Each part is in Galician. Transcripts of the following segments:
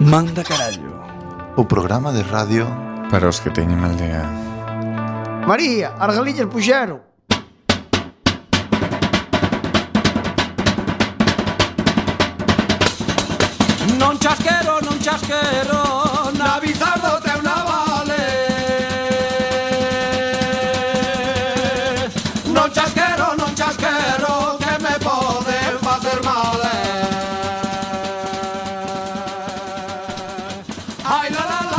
Manda carallo O programa de radio Para os que teñen aldea María, as galillas puxeron Non chasquero, non chasquero Na bizardo trae unha vale Non chasquero, non chasquero Que me poden facer mal eh. Ai, la, la, la.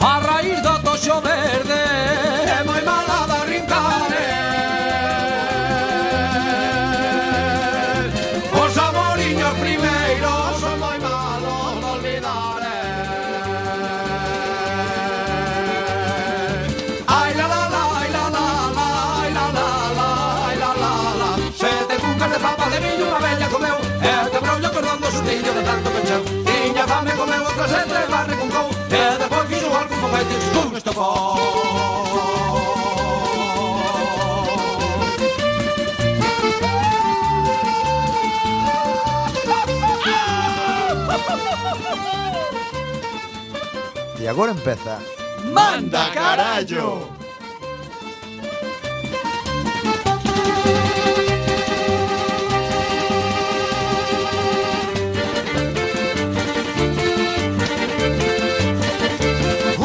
A raíz do toxo verde É moi mala da rincare Os amoriños primeiros Son moi malos de olvidar eh. Ai la la la, ai la la la Ai la la la, ai la la la Sete cucas de papa de viño Unha bella comeu E te brollo cordón do sustillo de tanto pecheu Tiña fame comeu outra sete Barre con cou E depois fixo algún foguete Pum, estopou E agora empeza Manda carallo!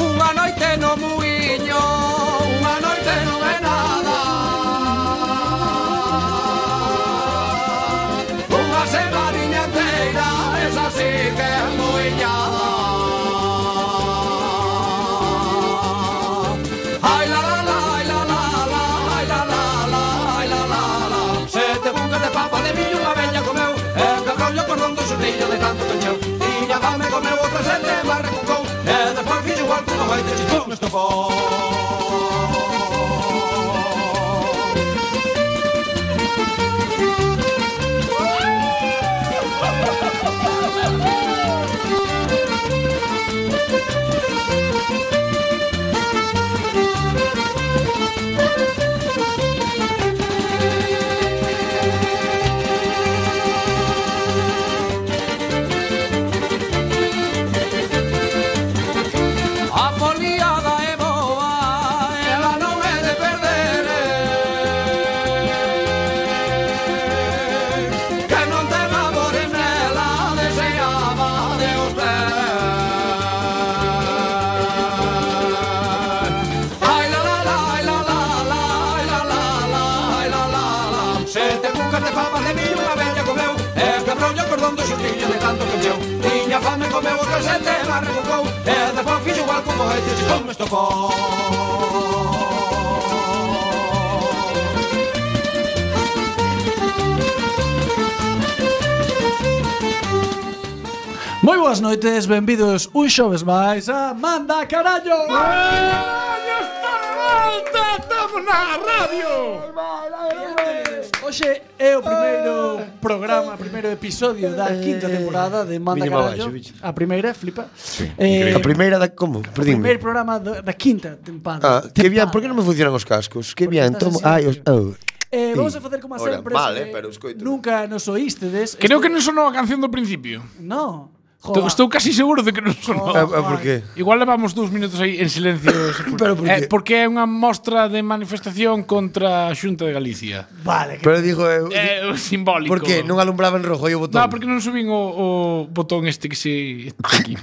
Unha noite no muiño, unha noite no é nada Unha semaniña inteira, esa sí que é muiñada Ai la la la, ai la la la, ai la la la, ai la la la. Sete bucas de papa de millo unha bella comeu, e que rollo cordón do xurrillo de tanto cancheu. Tiña fame comeu outra sete, mas recucou, e despois fixo igual Eh, que unha baita e pum, estopou. A e foliada é boa, ela non é e de perder eh. Que non te labores nela, deseaba de os ver Ai la la la, ai la la la, ai la la la, ai la la la Sete cucas de papas de millo, unha bella comeu E quebrou o cordón do xustillo de tanto que encheu Tiña fame, comeu o casete, la recucou E depois fixo igual como e dixo, como estopou Moi boas noites, benvidos un xoves máis a Manda Carallo Hoxe é o primeiro programa, primeiro episodio da Eh, quinta temporada de Manda Viña para Carallo baixo, viña. A primeira, flipa sí, increíble. A primeira da... Como? Primeiro Perdíme programa do- da quinta temporada Ah, que bien, por que non me funcionan os cascos? Que bien, estás tomo... en Ai, os... Oh. Eh, vamos Sí. a facer como Ora, sempre vale, se pero escoito. Nunca nos oístedes Creo que non sonou a canción do principio. No Estou, estou casi seguro de que non sonou. Ah, ah, por que? Igual levamos dous minutos aí en silencio. Pero por que? eh, porque é unha mostra de manifestación contra a Xunta de Galicia. Vale, que Pero digo eu... É eh, simbólico. Por que? Non alumbraba en rojo aí o botón? No, porque non subín o, o botón este que se... este Aquí.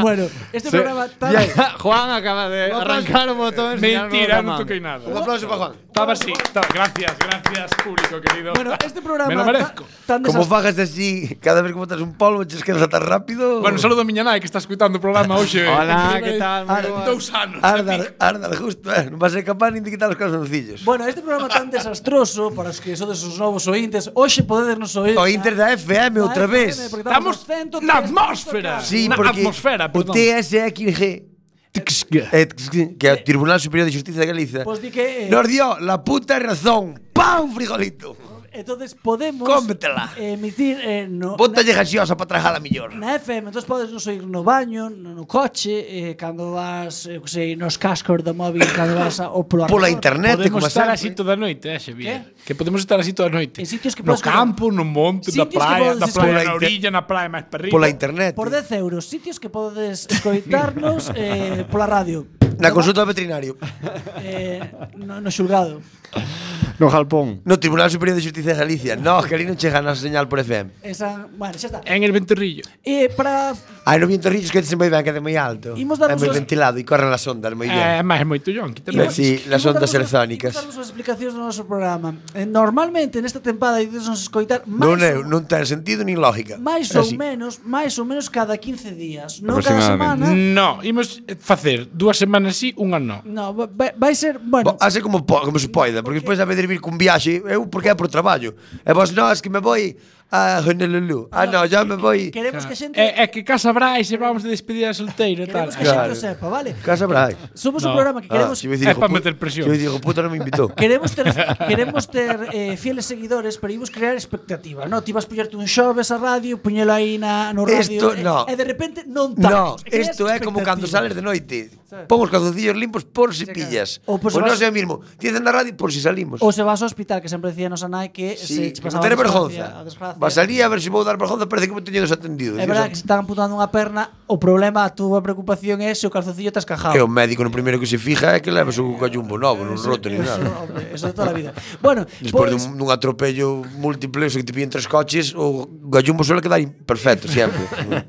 bueno, este programa tan Juan acaba de arrancar o botón e señalar Mentira, con a non man. toquei nada. Un aplauso para Juan. Está Estaba así. Estaba. Gracias, gracias, público querido. Bueno, eh, este programa Me lo ta- merezco. tan desas- Como fagas así, cada vez que botas un polvo, ches que tan rápido. Bueno, un saludo a miña nai que está escuitando o programa hoxe. Hola, que tal? Moi En boas. dous anos. Ardar, ardar, justo, eh. non vas a ser capaz nin de quitar os calzoncillos. Bueno, este programa tan desastroso para os que sodes os novos ointes, hoxe podedes oír. O Inter da FM outra FM, vez. porque Estamos na atmósfera. Sí, Na porque atmosfera, o perdón. TSXG, eh, que é o Tribunal Superior de Justicia de Galiza, Pois di que eh, nos dio la puta razón. ¡Pam, frijolito! entonces podemos Cómetela. emitir eh, no, Bótalle gaseosa para trajala mellor. Na FM, entón podes nos oír no baño, no, no coche, eh, cando vas, eu que sei, nos cascos do móvil, cando vas a, ou polo Pola ordenador. internet, Podemos como estar sempre. así toda a noite, eh, Xavier. Que podemos estar así toda a En noite. sitios que no podes- campo, no monte, Sitios na que podes praia, na praia, na escoitar. orilla, na praia máis perrito. Pola internet. Por 10 euros, sitios que podes escoitarnos eh, pola radio. Na consulta do veterinario. Eh, no, no xulgado. No jalpón. No Tribunal Superior de Justicia de Galicia. No, que ali non chega a nosa señal por FM. Esa, bueno, xa está. En el venterrillo. E para Ai, no viento rillos que se moi ben, que é moi alto. Imos É darnos moi os- ventilado e corren as ondas moi Eh, ben. máis moi tullón, quítame. Imos- Imos- sí, las imos darnos ondas as- erzónicas. Imos darnos as explicacións do noso programa. Eh, normalmente, nesta tempada, ides nos escoitar máis Non, é, ou- non Eh, ten sentido nin lógica. máis É ou así. menos, máis ou menos cada 15 días, non cada Aproximadamente. semana. No, imos eh, facer dúas semanas sí, unha no. No, va- vai, vai ser, bueno, Bo, Hace como, po, como se poida, porque despois a vez de vir cun viaxe, eu porque é por traballo. E vos, no, es que me voy a Honolulu. Ah, no, ya me voy... queremos que a xente É, é que casa Brais e vamos de despedir a solteiro e eh, tal. queremos que a É xente Claro. o sepa, vale? Casa Ah, Brai. Somos un No. programa que queremos iba a É hijo pa puta- meter presión. Yo digo, puta, non me invitou. Queremos ter, queremos ter eh, fieles seguidores, pero imos crear expectativa, no? Ti vas poñerte un xoves a radio, puñelo aí na, no radio, eh, Esto, no. e, e de repente non No, tantos. creas esto é como cando expectativa. sales de noite. Pon os calzoncillos limpos por si pillas. O O, por si pues o vas- non sei mesmo. Tienes na radio por si salimos. Ou se vas ao hospital, que sempre decía nosa nai que se Sí, che que non pasaba a tener desgracia- vergonza. a desgracia. Va a salir a ver se vou dar vergonza, parece que me teño desatendido. É "Oh, verdade que se están amputando unha perna, o problema, a túa preocupación é se o calzoncillo te has cajado. E o médico no primeiro que se fija é que leves un callumbo novo, non roto ni Eso, nada. hombre, eso de toda a vida. Bueno, Despois pois- dun, dun atropello múltiple, se que te pillen tres coches, o gallumbo suele quedar imperfecto, sempre. non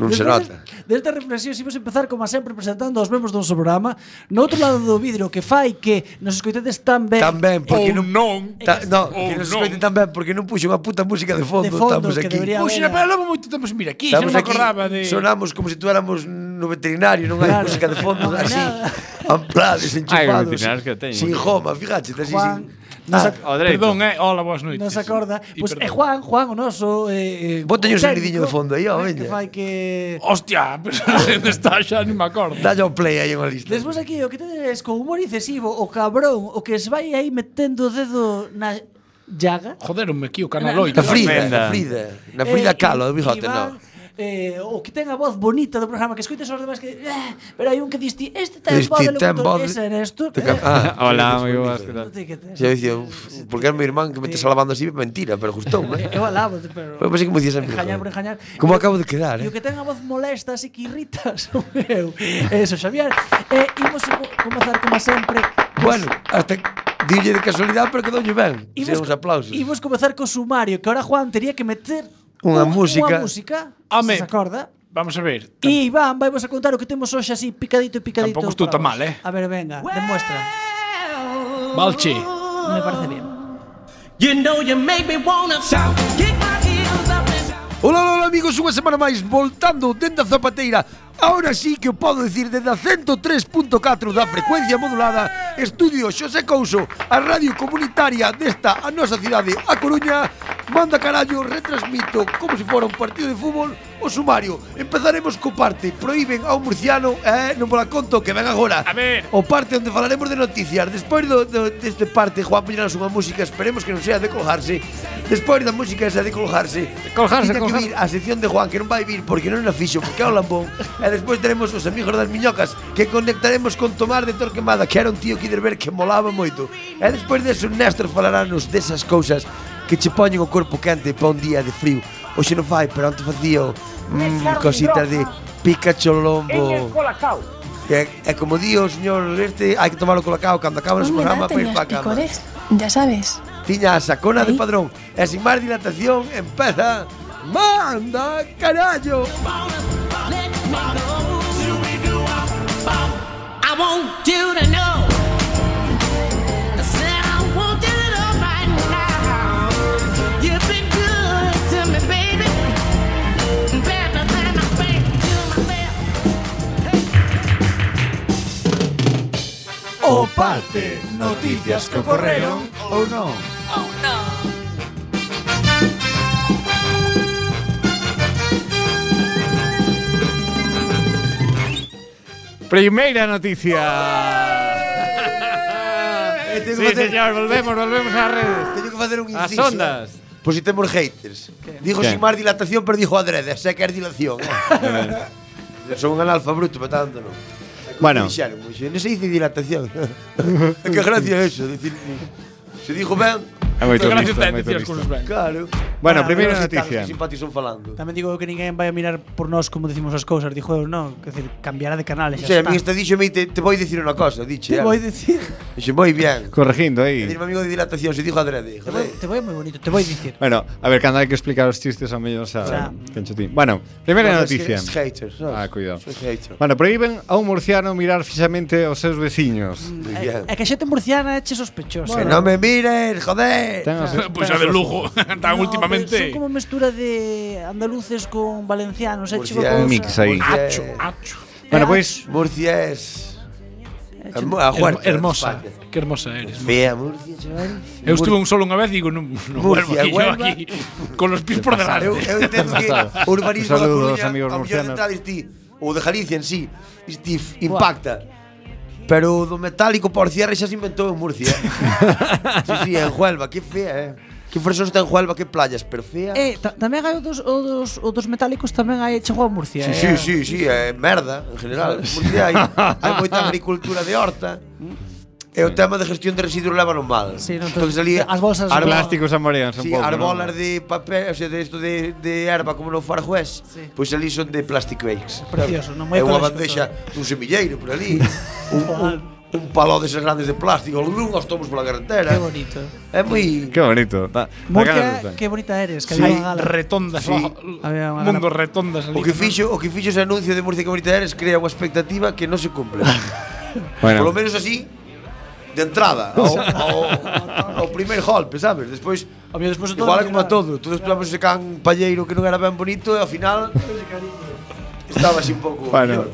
non se Despois nota. Desta reflexión, imos empezar, como sempre, presentando os membros do noso programa. No outro lado do vidro, que fai que nos escoitedes tan ben, Tamén, porque Ou non... non. Ta, no, Ou que nos non. escoiten tamén, porque non puxo unha puta música de fondo, De fondo, estamos que aquí. debería Puxa, Mira. pero levo moito tempo sin vir aquí, xa Estamos non me aquí, acordaba de... sonamos como se si tuéramos no veterinario, non hai Claro, música de fondo, non hai así, nada. amplá, Ai, desenchufados, veterinarios que teñen. sin joma, fíjate, está así, Juan, sin... nos, Ah, ac O dereito. Perdón, eh, hola, boas noites. nos acorda. Y Pois pues, é perdón. Juan, Juan, o noso... Eh, eh, Bótalle técnico, un eh, sonidinho de fondo aí, ó, Que veña. fai que... Hostia, pero onde está xa, non me acordo. Dalle ao play aí unha lista. Despois aquí, o que tedes con humor excesivo, o cabrón, o que se vai aí metendo o dedo na llaga. Joderonme aquí o canal Na 8. Frida, Fenda. na Frida, na Frida Kahlo, do bigote, Eh, Iván, non. Eh, o que ten a voz bonita do programa que escoitas os demais que eh, pero hai un que diste este ten Disti, voz ten voz... ese eh. en esto Te ca- Ah, Hola, moi boas, que Non tal? sei que tes. xa dicía, uf, porque é mi irmán que me estás alabando así, mentira, pero gustou, eh. Eu alabo, pero... Eu pensei que me dicías sempre. Enjañar por enjañar. E Como o- acabo de quedar, E o eh. que ten a voz molesta, así que irritas, meu. Eso, Xavier. E imos a co- comezar, como sempre... cos- Bueno, hasta dille de casualidade, pero quedoulle ben. imos- Se uns aplausos. Imos comezar co sumario, que ahora Juan tería que meter Unha un- música. Unha música, Home. se se acorda. Vamos a ver. E Iván, vai vos a contar o que temos hoxe así, picadito e picadito. Tampouco estou para tan vos. mal, eh. A ver, venga, demuestra. Balche. Me parece bien. You know you make me wanna shout, kick my heels up and shout. Ola, ola, ola, amigos, unha semana máis voltando dende a Zapateira. Ahora sí que o podo dicir dende a 103.4 da frecuencia modulada Estudio Xosé Couso, a radio comunitaria desta a nosa cidade A Coruña Manda carallo, retransmito como se fora un partido de fútbol o sumario Empezaremos co parte Proíben ao murciano eh, non pola conto que ven agora A ver. O parte onde falaremos de noticias Despois do, do, deste parte Juan poñerás unha música Esperemos que non sea de colgarse Despois da música esa de colgarse colgarse, Tiña que colgarse. vir a sección de Juan que non vai vir porque non la fixo porque é o lambón e despois teremos os amigos das miñocas que conectaremos con Tomás de Torquemada que era un tío que ides ver que molaba moito e despois deso Néstor falarános desas cousas que che poñen o corpo quente para un día de frío hoxe non fai pero antes facía mm, cositas de pica cholombo e, e como di o señor este hai que tomarlo colacao cando acabe o No noso me programa daten para ir los pa cama picores, ya sabes. tiña a sacona de Ahí. padrón e sin máis dilatación empeza Manda carallo I want you to know. I said I O parte, noticias que ocorreron ou non. Oh, Primeira noticia. Eh, teño Sí, que facer, señor, volvemos, volvemos ás redes. teño que facer un Ás inciso. ondas. Pois si temos haters. Dijo Que? sin máis dilatación, pero dijo adrede, sé que é dilación. Son un analfa bruto, pero tanto non. Eh. Bueno. Dixeron, moi xe, non se dice dilatación. que gracia é eso, dicir... Se dijo ben, É moito Gracias listo, é a moito decir as listo. cousas ben. claro. Bueno, Ah, primeira non sei tanto, noticia. Que simpáticos son falando. Tamén digo eu que ninguén vai a mirar por nós como decimos as cousas, dixo eu, non, que decir, cambiará de canal e xa Xe, a está. mí este esta díxeme, te, te voy a decir unha cosa, dixe. Te ela. vou dicir, Dixe, moi bien. Corregindo aí. Dicirme amigo de dilatación, se dijo adrede. te vou, joder. te vou moi bonito, te vou dicir. Bueno, a ver, cando hai que explicar os chistes a mellor Xa. xa canchotín. Bueno, Bueno, primeira es que noticia. Es hater, ¿sabes? Ah, cuidado. Soy hater. Bueno, prohíben a un murciano mirar fixamente aos seus veciños. Muy Eh, bien. É, é que a xente murciana é che sospechosa. Que no me mires, joder. Ten os- Pois a Pues de lujo, No, tan pero Son últimamente. como mestura de andaluces con valencianos, é che Murcia- Un mix aí. Murcia es- Acho, acho. Bueno, pois Murcia es. hermo- a Her- Huerta, Hermosa, España. que hermosa eres. Fea Murcia, chaval. Eu estuve un solo unha vez e digo, non, non vuelvo Murcia, aquí, yo Huelva. aquí, con los pies por delante. Eu, eu entendo que urbanismo Un da saludo aos Coruña, amigos a mellor de murcianos. entrada isti, ou de Galicia en sí, isti f- impacta. Pero o do metálico por cierre xa se inventou en Murcia. sí, sí, en Huelva, que fea, eh. Que fresón está en Huelva, que playas, pero fea. Eh, ta tamén hai o dos, o dos, o dos metálicos tamén hai chegou a Murcia. Sí, sí, eh. sí, sí, é merda en general. En Murcia hai, hai moita agricultura de horta. E o tema de gestión de residuos levaron mal. Mm. Sí, non, entón, Entonces ali as bolsas- arbo- plásticos amorean un Sí, pouco. arbolas non? de papel, o sea, de isto de, de erva como no Farjués, Sí. pois ali son de plastic bakes. Precioso, non? Moi É unha ecológico bandexa dun semilleiro por ali, un, un, un palo deses grandes de plástico, un os tomos pola Que carretera. bonito. É moi... Que bonito. Da, Murcia, que bonita eres, que había Hai unha gala. retondas, Sí. Había unha mundo gala. retondas ali. O que fixo, o que fixo ese anuncio de Murcia que bonita eres crea unha expectativa que non se cumple. Por lo Bueno, menos así, de entrada, ao, ao, ao primer golpe, sabes? Despois, A mí despois de todo igual é non como a queda nada. todo, todos esperamos ese can palleiro que non era ben bonito e ao final estaba así un pouco bueno. peor.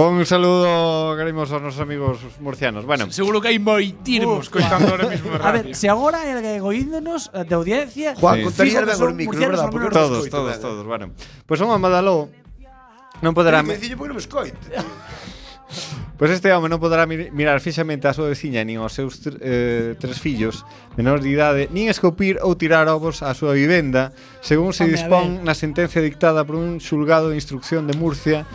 Un saludo, queremos aos nosos amigos murcianos. Bueno, Seguro que hai moitirmos coitando ahora mismo na A ver, radio. se agora hai alguén oíndonos eh, de audiencia, Juan, Sí. Fijo contaría que ben son os micros, murcianos, verdad? por lo menos todos, todos, todos. Bueno, pois pues un Madaló non poderá Pero que me- dicillo porque non me escoite. Pois este home non poderá mir- mirar fixamente a súa veciña nin aos seus tr eh, tres fillos menores de idade, nin escopir ou tirar ovos á súa vivenda, según se Home, a dispón na sentencia dictada por un xulgado de instrucción de Murcia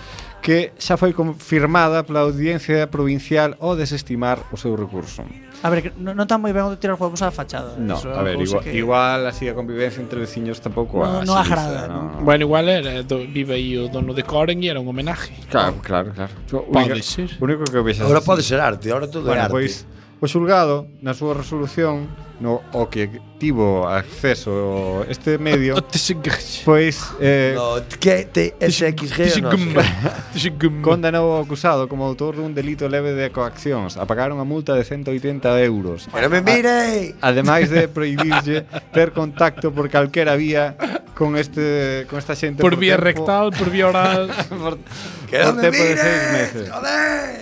que xa foi confirmada pola audiencia provincial ao desestimar o seu recurso. a ver, que non non tan moi ben o de tirar huevos á fachada. No, Eso é unha a ver, cousa igual, que- igual así a convivencia entre veciños tampouco No- a no axiliza, agrada, no, no. Bueno, igual era, do, vive aí o dono de Coren e era un homenaje. Claro, claro, claro. O Pode único- ser. O único que vexas Agora así. pode ser arte, agora todo é Bueno, arte. pois o xulgado na súa resolución no o que tivo acceso este medio, O TSG. pois eh No, que te SXG, non TSG. sei. TSG. condenou o acusado como autor dun delito leve de coaccións a pagar unha multa de 180 euros. Que non me mire! Ademais de prohibirlle ter contacto por calquera vía con este con esta xente Por vía tempo- rectal, por vía oral. por, Que non me por tempo de seis mire! meses. Joder!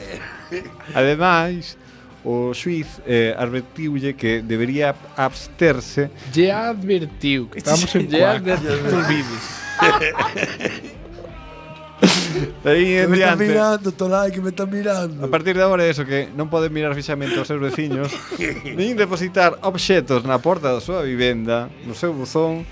Ademais, o xuiz eh, advertiulle que debería absterse Lle advertiu que estamos en Lle cuac. Non olvides. de aí en diante. Tolai, que me está mirando. A partir de agora é eso que non poden mirar fixamente aos seus veciños nin depositar obxetos na porta da súa vivenda, no seu buzón,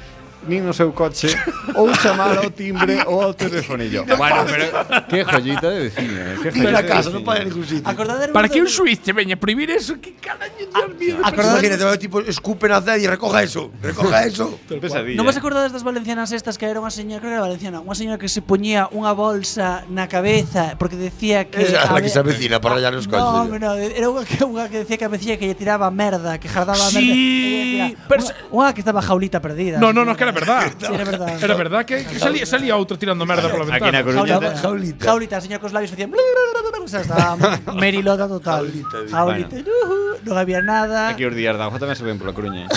nin no seu coche ou chamar ao timbre ou ao telefonillo. bueno, pero que joyita de veciño, eh? Que Mira joyita a casa, de non veciño. para ningún sitio. Acordade Para que un suiz te veña a prohibir eso? Que caraño, Dios mío. Acordade- Imagínate, vai o tipo, escupen a Zed e recoja eso, recoja eso. Pesadilla. Non vos acordades das valencianas estas que era unha señora, creo que era valenciana, unha señora que se poñía unha bolsa na cabeza porque decía que Esa é Eh, a a ve- que se avecina para rayar os No, coches. hombre, no, era unha que, unha que decía que a vecilla que lle tiraba merda, que jardaba merda. e Sí, lle tiraba- pero Unha- se- Unha que estaba jaulita perdida. No, no, no, que era verdad. Sí, era verdad. Era verdad que, que salía, salía outro tirando merda pola Aquí na ventana. Jaulita, Coruña te- jaulita. jaulita. Jaulita, a señora cos labios facían o sea, estaba merilota total. Jaulita, dice. jaulita. Ujú, non había nada. Aquí os días da Ojo tamén se ven pola Coruña.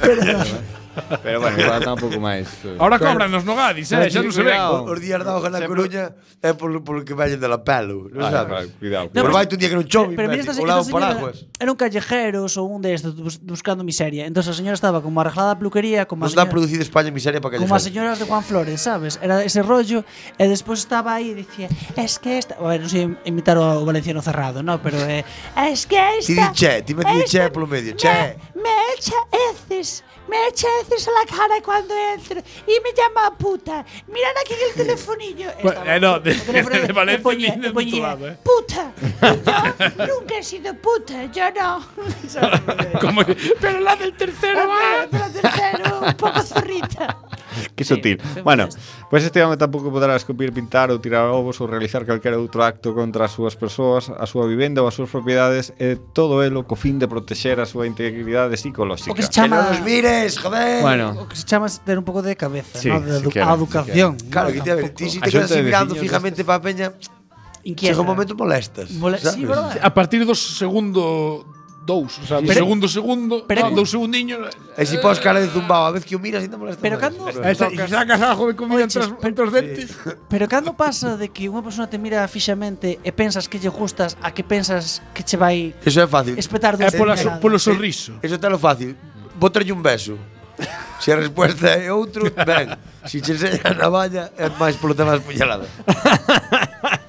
Pero, ¿eh? Pero bueno, igual tampouco máis. eh. Ahora cobran os nogadis, eh, xa non se ven. Cuidado. Os días da hoja na Coruña eh, é polo, polo que valle de la pelo, non Ay, sabes? ay, Cuidado, No, Pero cuidado. pero- vai un día que non chove, Pero mira, imbécil, esta, o esta lado señora paraguas. era un callejeros o un de estos bus- buscando miseria. Entonces la señora estaba como arreglada a peluquería, como a Nos dá señora, producido España miseria para como as callejar. señoras de Juan Flores, sabes? Era ese rollo e despois estaba aí e dicía, "Es que esta, a ver, non sei imitar o valenciano cerrado, no, pero eh, es que esta Ti di che, ti meti di che polo medio, che. Me, me echa heces, me echa heces a la cara cuando entro y me llama puta. Mirad aquí el telefonillo. Bueno, Estaba- eh, no, de- el telefonillo de me Valencia ponía- ni me de ponía, tu lado, eh. Puta. Yo nunca he sido puta, yo no. ¿Sabes? Como, pero la del tercero Pero, va. pero tercero, un poco zurrita. Que sutil. Bueno, pois este home tampouco poderá escupir, pintar ou tirar ovos ou realizar calquera outro acto contra as súas persoas, a súa vivenda ou as súas propiedades e todo elo co fin de protexer a súa integridade O psicolóxica. que se Que chama, non nos mires, o joder. Bueno, que se chama es tener un pouco de cabeza, Sí, ¿no? De si edu- quieres, a si educación. Claro, ¿no? que te, a ver, Tampoco- ti si A te quedas xunta así de mirando veciños fijamente para a peña, Inquieta. chega un momento molestas. Mole- sí, sabes? verdad. A partir do segundo dous, o sea, do Pero- segundo segundo, pero- no, do segundiños. eh, E si pos cara de zumbao, a vez que o miras ainda molesta. Pero máis. cando- Bueno. Esa, e sacas algo de comida Oches, entre os- entre os dentes. Pero cando pasa de que unha persoa te mira fixamente e pensas que lle gustas a que pensas que che vai Eso é fácil. espetar dun É pola so- puñalado? polo sorriso. Eso está lo fácil. Botarlle un beso. Se a resposta é outro, ben. Se che enseña a navalla, é máis polo tema das puñaladas.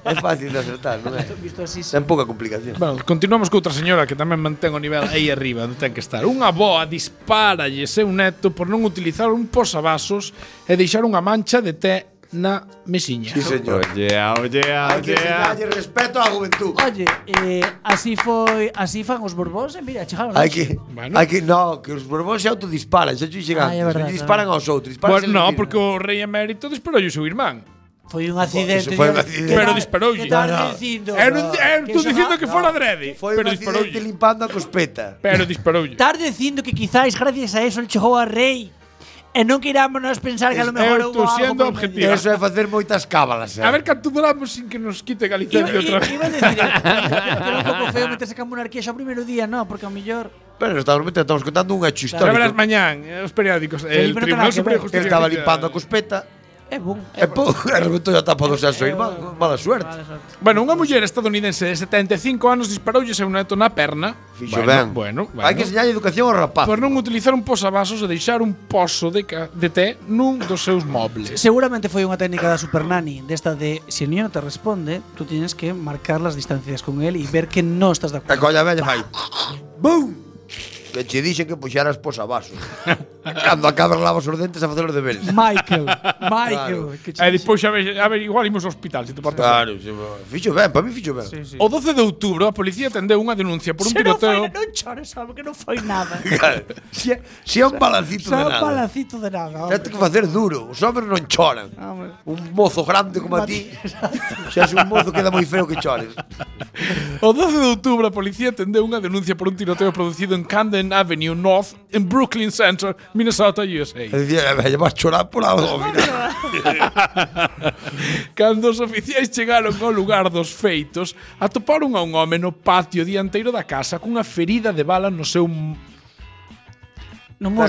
é fácil de acertar, non é? Visto así, sí. Sen pouca complicación. Bueno, continuamos con outra señora que tamén mantén o nivel aí arriba onde ten que estar. Unha boa dispáralle seu neto por non utilizar un posavasos e deixar unha mancha de té na mesiña. Sí, señor. oye, oye, Hai que oye. enseñarlle respeto á juventud. Oye, eh, así foi, así fan os borbóns, e mira, chegaron. Hai que, Bueno. hai que, no, que os borbóns se autodisparan, xa chuxe Ah, é antes, verdad, non lle disparan é aos outros, disparan Pois non, porque o rei emérito disparou o seu irmán. Foi un accidente. Eso foi un que accidente. tal- Pero disparoulle. que tal No, no. dicindo? Era un- era- tú son- dicindo que no. fora adrede, Foi un pero accidente disparoulle. limpando a cospeta. Pero disparoulle. Estás dicindo que quizáis gracias a eso el chegou a rei. E non querámonos pensar que a lo Estou mellor houbo algo por medio. sendo E objetivo. eso é facer moitas cábalas, eh? A ver canto duramos sin que nos quite Galicia Iba, de iba, outra vez. iba a decir, que era un pouco feo meterse ca monarquía xa o primeiro día, no, porque ao mellor Pero estamos, estamos contando un hecho Xa verás histórico. mañán eh, os periódicos. El Felipe, non terá eh, Tribunal que Superior de ver. Justicia. Ele estaba de Galicia- limpando a cospeta é bun. e Eh. pum, rebentou a tapa do seu irmán. Mala suerte. Bueno, unha muller estadounidense de 75 anos disparoulle seu neto na perna. Fixo bueno, ben. Bueno, bueno. Hai que enseñar educación ao rapaz. por non utilizar un posavasos e deixar un pozo de, ca de té nun dos seus mobles. Seguramente foi unha técnica da Supernani, desta de se o niño non te responde, tú tienes que marcar las distancias con él y ver que no estás de E acuerdo. colla vella fai. Bum! Que che dixen que puxaras posavasos. Cando acabas lavas os dentes a facer os deberes. Michael, Michael, que E despois a ver, a ver igual imos ao hospital, se te partes. Claro, sí, bo. fixo ben, para mí fixo ben. O 12 de outubro a policía atendeu unha denuncia por un Se non foi, tiroteo. non chores, sabe que non foi nada. Claro, Si é- si é un balacito de Só un nada. palacito de nada. Tens Hombre. que facer duro, os homens non choran. Hombre. Un mozo grande como a ti, xa és un mozo queda moi feo que chores. O 12 de outubro a policía atendeu unha denuncia por un tiroteo producido en Camden Avenue North en Brooklyn Center, Minnesota, USA. E dicía, "Vella, vas chorar por algo ao final." Cando os oficiais chegaron ao lugar dos feitos, atoparon a un home no patio dianteiro da casa cunha ferida de bala no seu m- Non mos Na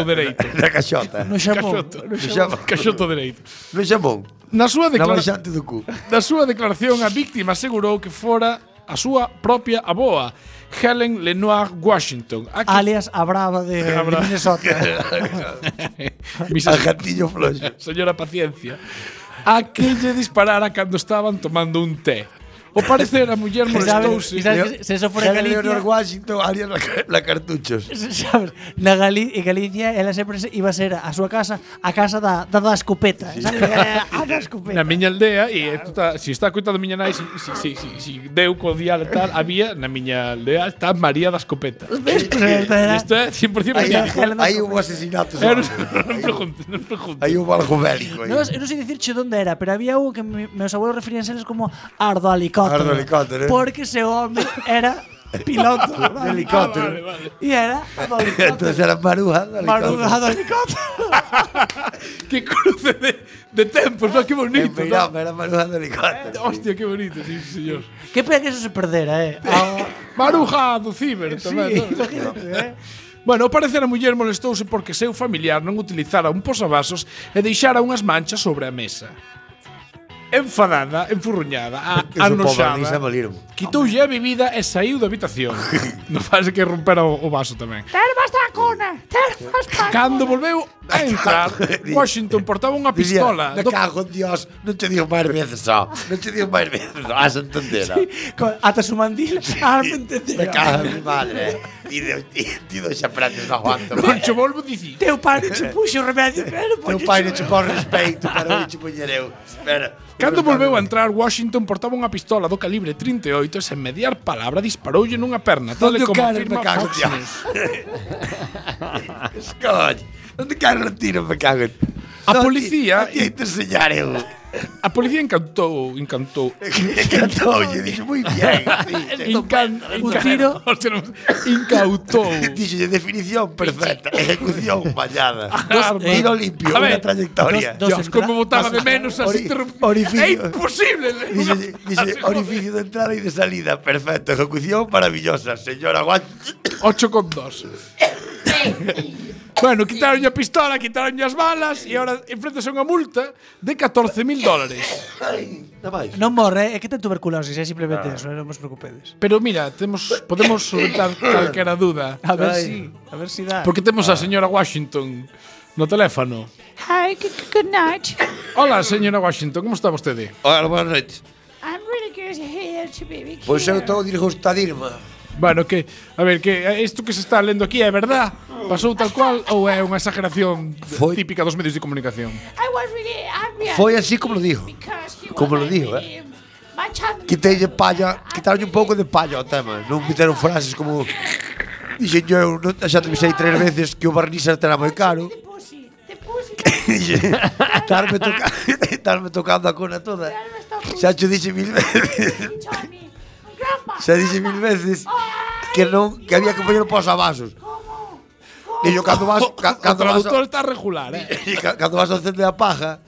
caixota. Caixoto dereito. Na caixota. Non chamou. Caixoto. non chamou. Xa- caixoto dereito. Non chamou. Na súa, Na declara baixante do cu. na súa declaración, a víctima asegurou que fora a súa propia aboa, Helen Lenoir Washington. A que Alias a brava de, de brava. Minnesota. Mis- A gatillo floxo. señora paciencia, a que lle disparara cando estaban tomando un té. O parecer a muller E sabes- molestouse. e sabes que se eso fora en Helen Galicia- Leonor Washington, alias la, la cartuchos. sabes, na Gali en Galicia ela sempre se- iba a ser a súa casa, a casa da, da, da escopeta. Sí. Sabes? Era A da escopeta. Na miña aldea, e isto está, si está coitado miña nai, si, si, si, si, si deu co dial e tal, había na miña aldea está María da Escopeta. Ves, pues, era- Isto é 100% Aí real. Helen aí hubo asesinatos. Eu Eh, non, non pregunte, non pregunte. Aí hubo algo bélico. aí. No, eu non sei dicirche onde era, pero había un que mi- meus abuelos referíanse eles como Ardo Helicóptero. Ardo Helicóptero, eh. Porque ese home era piloto de helicóptero. Ah, vale, vale. E era Ardo Entonces Helicóptero. era maruja. do Marudo helicóptero. Ardo Helicóptero. Que cruce de, de tempos, va, que En bonito. Beirama era maruja do helicóptero. va. Hostia, que bonito, sí, señor. Que pena que eso se perdera, eh. Ao- Maruja do ciber Sí, tamén. non? imagínate, eh. Bueno, ao parecer a muller molestouse porque seu familiar non utilizara un posavasos e deixara unhas manchas sobre a mesa. Enfadada, enfurruñada, a, Nisa anoxada, valiron. quitoulle a bebida e saiu da habitación. non faz que rompera o, o vaso tamén. Termas tacona, termas tacona. Cando volveu a entrar, Washington portaba unha Dicía, pistola. me do- cago en Dios, non te digo máis veces só. Non te digo máis veces só, has entendera. Ata su mandil, ah, me entendeu. Me cago en mi madre. Ti de- ti- Ti do xa pratos, non aguanto. máis. Concho, volvo dicir. Teu pai non che puxo o remedio, pero poñeche- Teu pai non che pon respeito, pero non che poñer eu. Espera. Cando volveu a entrar, Washington portaba unha pistola do calibre 38 e sen mediar palabra disparoulle nunha perna, tal e Onde o como queres, me afirma cago en Fox Dios. News. Escolle. Onde quero o tiro, me cago en... Non, A ti- non policía- Ti hai te enseñar eu. A policía encantou, encantou. Cantoulle, dixo, moi bien. sí, sí. Encan, Un encan- tiro. Hostia, non- incautou. Dixolle definición perfecta, ejecución fallada. Arma. Tiro limpio, A unha ver, trayectoria. dos- Dios, como botaba de menos as Ori- interrupciones. orificio. É imposible. ler Dice, unha dice, frase como orificio de entrada y de salida. Perfecto. Ejecución maravillosa. Señora Guan. Ocho con dos. bueno, quitaron a pistola, quitaron as balas e ahora enfrentase a unha multa de 14.000 dólares. Non morre, eh. é que ten tuberculosis, é simplemente eso, eh, non vos preocupedes. Pero mira, temos podemos solventar calquera duda. A ver Ay. si, a ver si dá. Porque temos a señora Washington no teléfono. Hi, good, good night. Hola, señora Washington, como está vostede? Hola, buenas noches. I'm really good here to be with Pois eu you. estou disgustadísima. Bueno, que, a ver, que isto que se está lendo aquí é verdad? Pasou tal cual ou é unha exageración Foi- típica dos medios de comunicación? I was really angry at Foi así como lo dijo. because he Como was lo dijo, like, eh, manchando- Quitei palla, quitaron un pouco de palla ao tema. Non meteron frases como Dixen eu, non, xa te avisei tres veces que o barniz estará moi caro. The pussy, the pussy, Dixe, estarme, toca estarme tocando a cona toda. there was the pussy. Xa te dixe mil veces. He told me, "Grandpa, Xa dixe mil veces que non que había que poñer pos a vasos. como? E yo cando vas ca- O cando vas traductor está regular, eh? E ca- cando vas a acender a paja,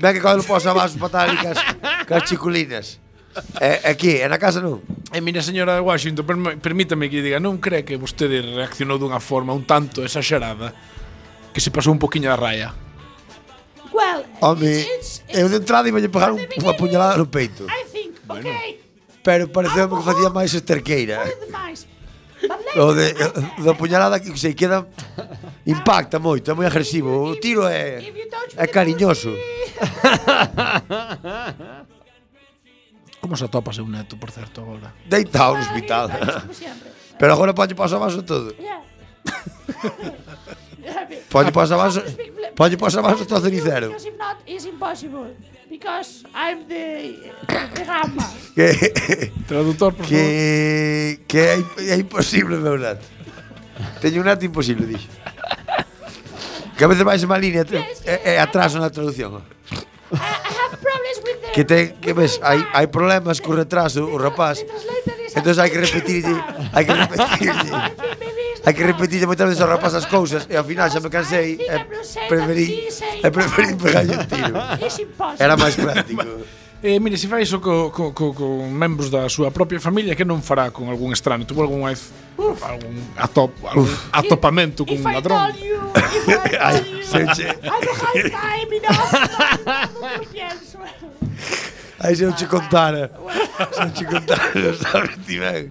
ven que cando pos a vasos patálicas cas chiculinas. E, aquí, e na casa non. E mira, señora Washington, perm- permítame que lle diga, non cree que vostede reaccionou dunha forma un tanto exagerada que se pasou un poquinho da raya? Well, Home, it's- it's- eu de entrada iba a pegar un, unha puñalada no peito. I think, okay, Pero pareceu que facía máis esterqueira. foi demais. But later, O de, da puñalada que se queda impacta moito, é moi agresivo. O tiro é if you touch é the cariñoso. Como se atopa seu neto, por certo, agora? Deitado no pussy, hospital. he touched, como sempre. Pero agora ponlle paso a vaso todo. Yeah. Ponlle paso a vaso. Ponlle paso a vaso todo cenicero. Because if not, it's impossible. Because I'm the, the grandma. Que Traductor, por favor. que que é, é imposible, meu nato. Teño un nato imposible, dixo. Que a veces vais má línea te- e, e atraso na traducción. ó. I, I have problems with the... Que te que ves, hai hai problemas co retraso o rapaz. Entonces hai que repetirlle, hai que repetirlle. Hai que repetirlle moitas veces ao rapaz as cousas e ao final xa me cansei e preferí e preferí pegarlle un tiro. It's impossible. Era máis práctico. Eh, mire, se fai iso co, co, co, co membros da súa propia familia Que non fará con algún estrano? Tuvo algún vez algún, atop, algún atopamento con If un I told ladrón you, if I told you, se che. I don't have time enough. Non lo pienso. Aí se eu che contara. Se eu che contara, sabes ti ben.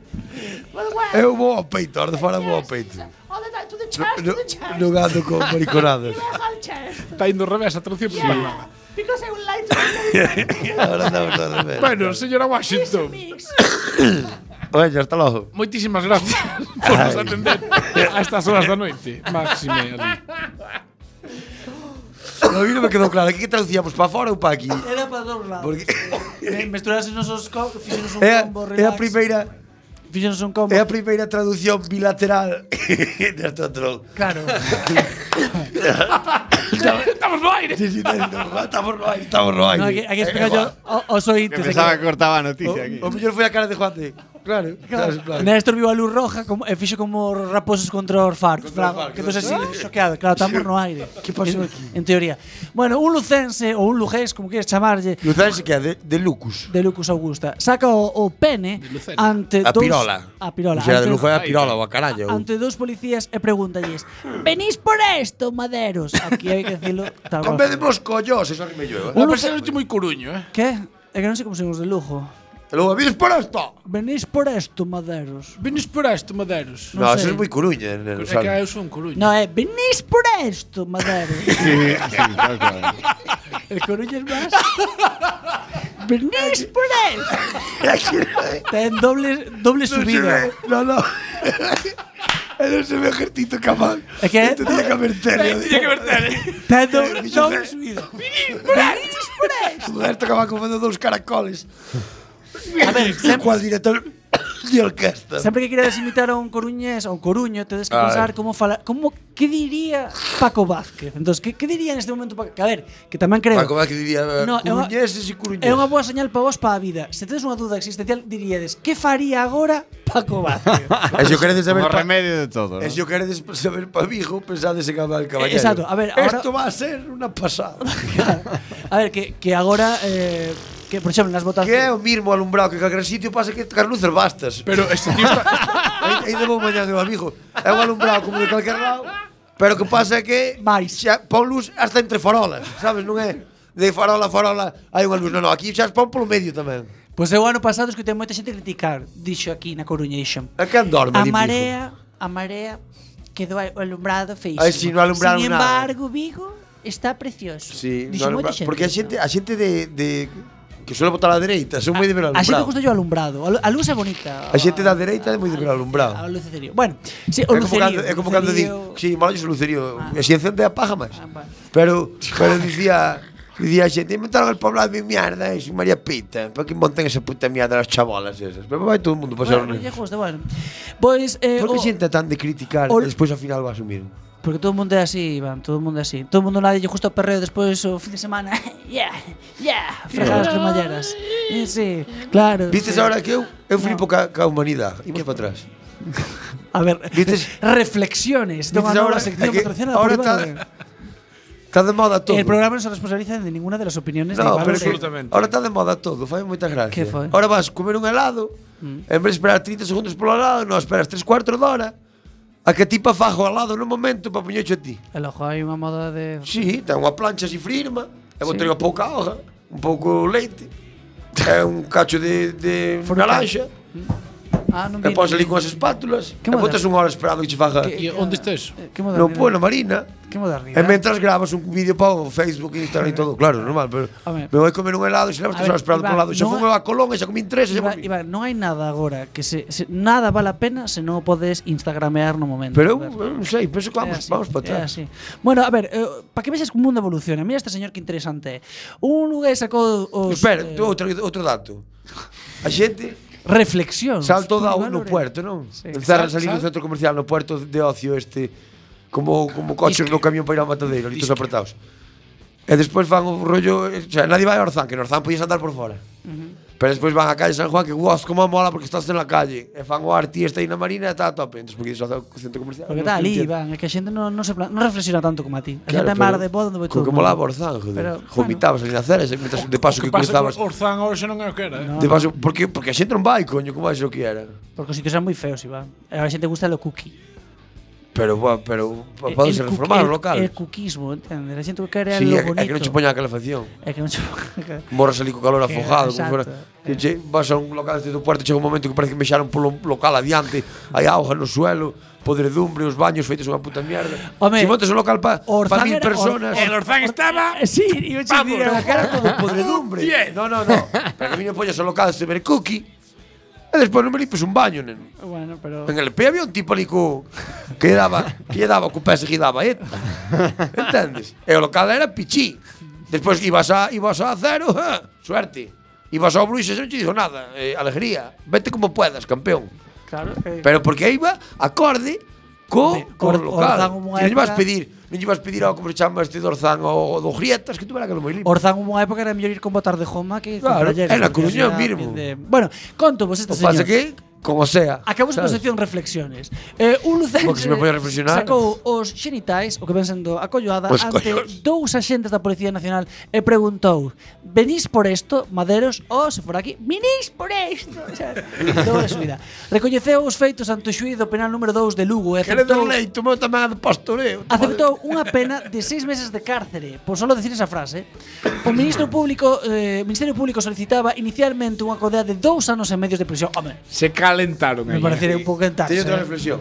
But well, Eu vou ao peito, a hora de fora vou ao peito. All the time to the chest, to the chest. No gando con mariconadas. You have all chest. Está indo ao revés a traducción Yeah, yeah. because I would like to be Ahora andamos a ver. Bueno, señora a Washington mix. Bueno, hasta logo. Moitísimas gracias por nos atender a estas horas da noite Máxime ali A mí non me quedou claro. Aquí que traducíamos para fora ou para aquí? Era para todos lados. Porque Me- Mesturasenos os co- fixenos un é, a- combo, é a relax. primeira Fixenos un combo. é a primeira traducción bilateral deste outro. Claro. Estamos no aire Sí, sí, Ah, estamos no aire, estamos no aire. No, hai que, hai que explicar yo aos ointes de Pensaba que que... cortaba a noticia aquí. O, o mellor foi a cara de Juan de Claro, claro, en plan. Néstor viu a luz roja como, e fixo como os raposos contra os faros. Contra Contra os faros, que entón así, claro. choqueado. Claro, estamos no aire. Que pasou En- aquí? En teoría. Bueno, un lucense ou un lujés, como queres chamarlle, Lucense que é de, de Lucus. de Lucas Augusta, saca o, o pene Lucena. ante A dous- pirola. A pirola. O sea, de ante- Lujo é a pirola, o a carallo. ante dous policías e pregúntalles Venís por esto, maderos Aquí hai que dicilo tal cual. Comedemos collos, eso que me llueva. Un A luce- pesar de moi coruño, eh? Que? É que non sei como somos de lujo E logo, vides por esto? Venís por esto, maderos Venís por este, Madeiros. Non No, eso sei. es moi coruña, neno, É que sabe? eu son coruño. No, é Venís por esto, maderos Sí, sí, tal cual. El coruñas máis Venís por esto Ten doble, doble Non se ve, subida no, no. E non se ve o jertito capaz. É que- Esto tiña que haber terio. Tiña que haber Ten doble, Yo doble sé. subida Venís por esto Roberto acaba comendo dous caracoles. A ver, E cual director de orquesta. Sempre que queredes imitar a un coruñés ou coruño, tedes que Ai. pensar como fala, como que diría Paco Vázquez. Entón, que, que diría neste momento Paco? Que, a ver, que tamén creo. Ah, como é que diría eh, No, é unha- coruñeses e coruñeses. É unha boa señal para vos para a vida. Se tedes unha dúda existencial, diríades que faría agora Paco Vázquez? E se o queredes saber Como pa- remedio de todo. ¿no? E se o queredes saber pa Vigo, pensades en Gabal Caballero. exacto, a ver, ahora- Esto va a ser unha pasada. a ver, que, que agora... Eh, que, por exemplo, nas que é votacións... o mismo alumbrado que calquera sitio pasa que Carlucer Bastas. Pero este tío está... Aí- Aí vou mañá meu amigo. É un alumbrado como de calquera lado, pero o que pasa é que Mais. xa pon luz hasta entre farolas, sabes, non é? De farola a farola hai unha luz, non, non, aquí xa as pon polo medio tamén. Pois eu ano pasado escutei moita xente criticar, dixo aquí na Coruña, dixo. A que andorme, A di Vigo. marea, a marea quedou a- alumbrado feísimo. Ai, si, non alumbraron Sin nada. embargo, Vigo está precioso. Sí, Dixo no, moita alumbra- porque a xente, a xente de, de que suele votar á dereita, son moi de ver A xente alumbrado. Ah, gusta yo alumbrado. A lu- A luz é bonita. A xente da dereita é moi de ver A alumbrado. luz cerio. Bueno, sí, o É como lucerío. cando, é como cando di, lucerío. si, malo o lucerío, Ah. e si encende a paja máis. Ah, bueno. Pero, pero dicía, dicía a xente, inventaron el poblado de mierda, es María Pita, para que monten esa puta mierda las chabolas esas. Pero vai todo o mundo pasar Bueno, bueno, lle gusta, bueno. Pois eh, pues, eh, Por que o- xente é tan de criticar o- e despois ao final vas asumir? porque todo o mundo é así, Iván, todo o mundo é así. Todo o mundo nada lle gusta o perreo despois o fin de semana. yeah, yeah, fregar as cremalleras. Eh, sí, claro. sí. Vistes agora que eu, eu flipo ca, ca humanidade, imos para atrás. A ver, Vistes- reflexiones. Toma Vistes nova agora- é sección que patrocinada por ahora Iván está- Moreno. Está de moda todo. El programa non se responsabiliza de ninguna de las opiniones de No, Iván pero Moreno. que ahora está de moda todo, fai moita gracia. Que foi? Ahora vas comer un helado, mm. en vez de esperar 30 segundos polo helado, non, esperas 3 cuartos de hora, a que a tipa fajo al lado no momento para poñecho a ti. El ojo, hai unha moda de... Sí, ten unha plancha así firma, e vou ter unha pouca hoja, un pouco leite, e un cacho de, de Fruta. naranja, Ah, non e vi- pos ali con as espátulas, Que e botas moderno. unha hora esperando que che faja E onde está eso? Eh, Que no modernidade. polo marina, Que e modernidade. mentras gravas un vídeo para o Facebook, Instagram e todo, claro, normal, pero Home. me vou comer un helado, se A levas tres ver, horas esperando Iván, polo lado, xa non é- fun a Colón e xa comín tres, e xa Iba, comín. Iba, non hai nada agora que se, se nada vale a pena se non o podes instagramear no momento. Pero eu, A ver, eu non sei, penso que é vamos, así, vamos para é atrás. así. Bueno, a ver, eh, para que vexas que o mundo evoluciona. Mira este señor que interesante é. Un lugar sacou os Espera, eh, tú, outro, outro dato. A xente reflexións. salto Tú, da Iván no Lorenzo. puerto, non? Sí. Encerran salir do Sal- sal- centro comercial no puerto de ocio este como como coches no camión para ir ao matadeiro, ali todos apretados. E despois van o rollo, eh, o sea, nadie vai a Orzán, que en Orzán podías andar por fora. Pero despois van a calle San Juan que guas como mola porque estás en la calle. E fan o arti este aí na marina e está a tope. Entón, porque iso ao centro comercial. Porque non está ali, entiendo. Iván, é que a xente non, non, se plan, non reflexiona tanto como a ti. A Claro, xente é mar pero de boda onde vai co todo. o que mundo. molaba Orzán, joder. Pero, Vomitabas ali na cera, e metas eh, de paso que O que pasa é cruzabas. que Orzán ahora xa non é o que era, eh? De paso, porque, porque a xente non vai, coño, como vai ser o que era? Porque os sitios eran moi feos, Iván. A xente gusta lo cookie. Pero, bueno, pero Eh, poden el se cookie- reformar el- o local. El cookismo, entendes? A xente que quere sí, algo é, que- bonito. é que non che poña a calefacción. É que non che poña- Morras ali co calor Que- afogado, como exacto, fora. eh. Que che, vas a un local desde o puerto, chega un momento que parece que mexaron polo local adiante, hai auga no suelo, podredumbre, os baños feitos unha puta mierda. Home, se montas un local para Orzán pa mil era- Or- personas, Or- El Orzán estaba... Eh, Sí, iba a decir Vamos, pero que era todo podredumbre. Diez. No, no, no. Pero que viño pollas ao local de ver cookie, e despois non me limpes un baño, neno. Bueno, pero En el P había un tipo ali co que lle daba, que lle daba co pés e daba eta. Entendes? E o local era pichí. Despois ibas a ibas a cero, ja, suerte. Ibas ao Bruxas e non te dixo nada, eh, alegría. Vete como puedas, campeón. claro eh, que Pero porque iba acorde co, Hombre, co Or- Orzán local. como Que non lle vas época- pedir, non lle vas pedir ao como se chama este Dorzán ou do Grietas que tuvera que lo moi limpio. Orzán hubo unha época que era mellor ir con botar de joma que Claro, con playeras, era porque Coruña era mismo. de- Bueno, conto vos este O señor. pasa que como sea. Acabamos coa sabes? sección reflexiones. Eh, un Como que se me pode reflexionar. sacou os xenitais, o que ven sendo a colloada, Os ante collos. dous axentes da Policía Nacional e preguntou venís por isto, maderos, ou se for aquí, vinís por isto. O sea, Dobre subida. Recoñeceu os feitos ante o xuído penal número 2 de Lugo e Queres dar aceptou leite, o meu tamén é de pastoreo. aceptou unha pena de seis meses de cárcere por solo decir esa frase. O ministro público, eh, o Ministerio Público solicitaba inicialmente unha condena de dous anos e medios de prisión. Home, Se calentaron me aí, parecería eh. un pouco entarse. Teño outra eh. reflexión.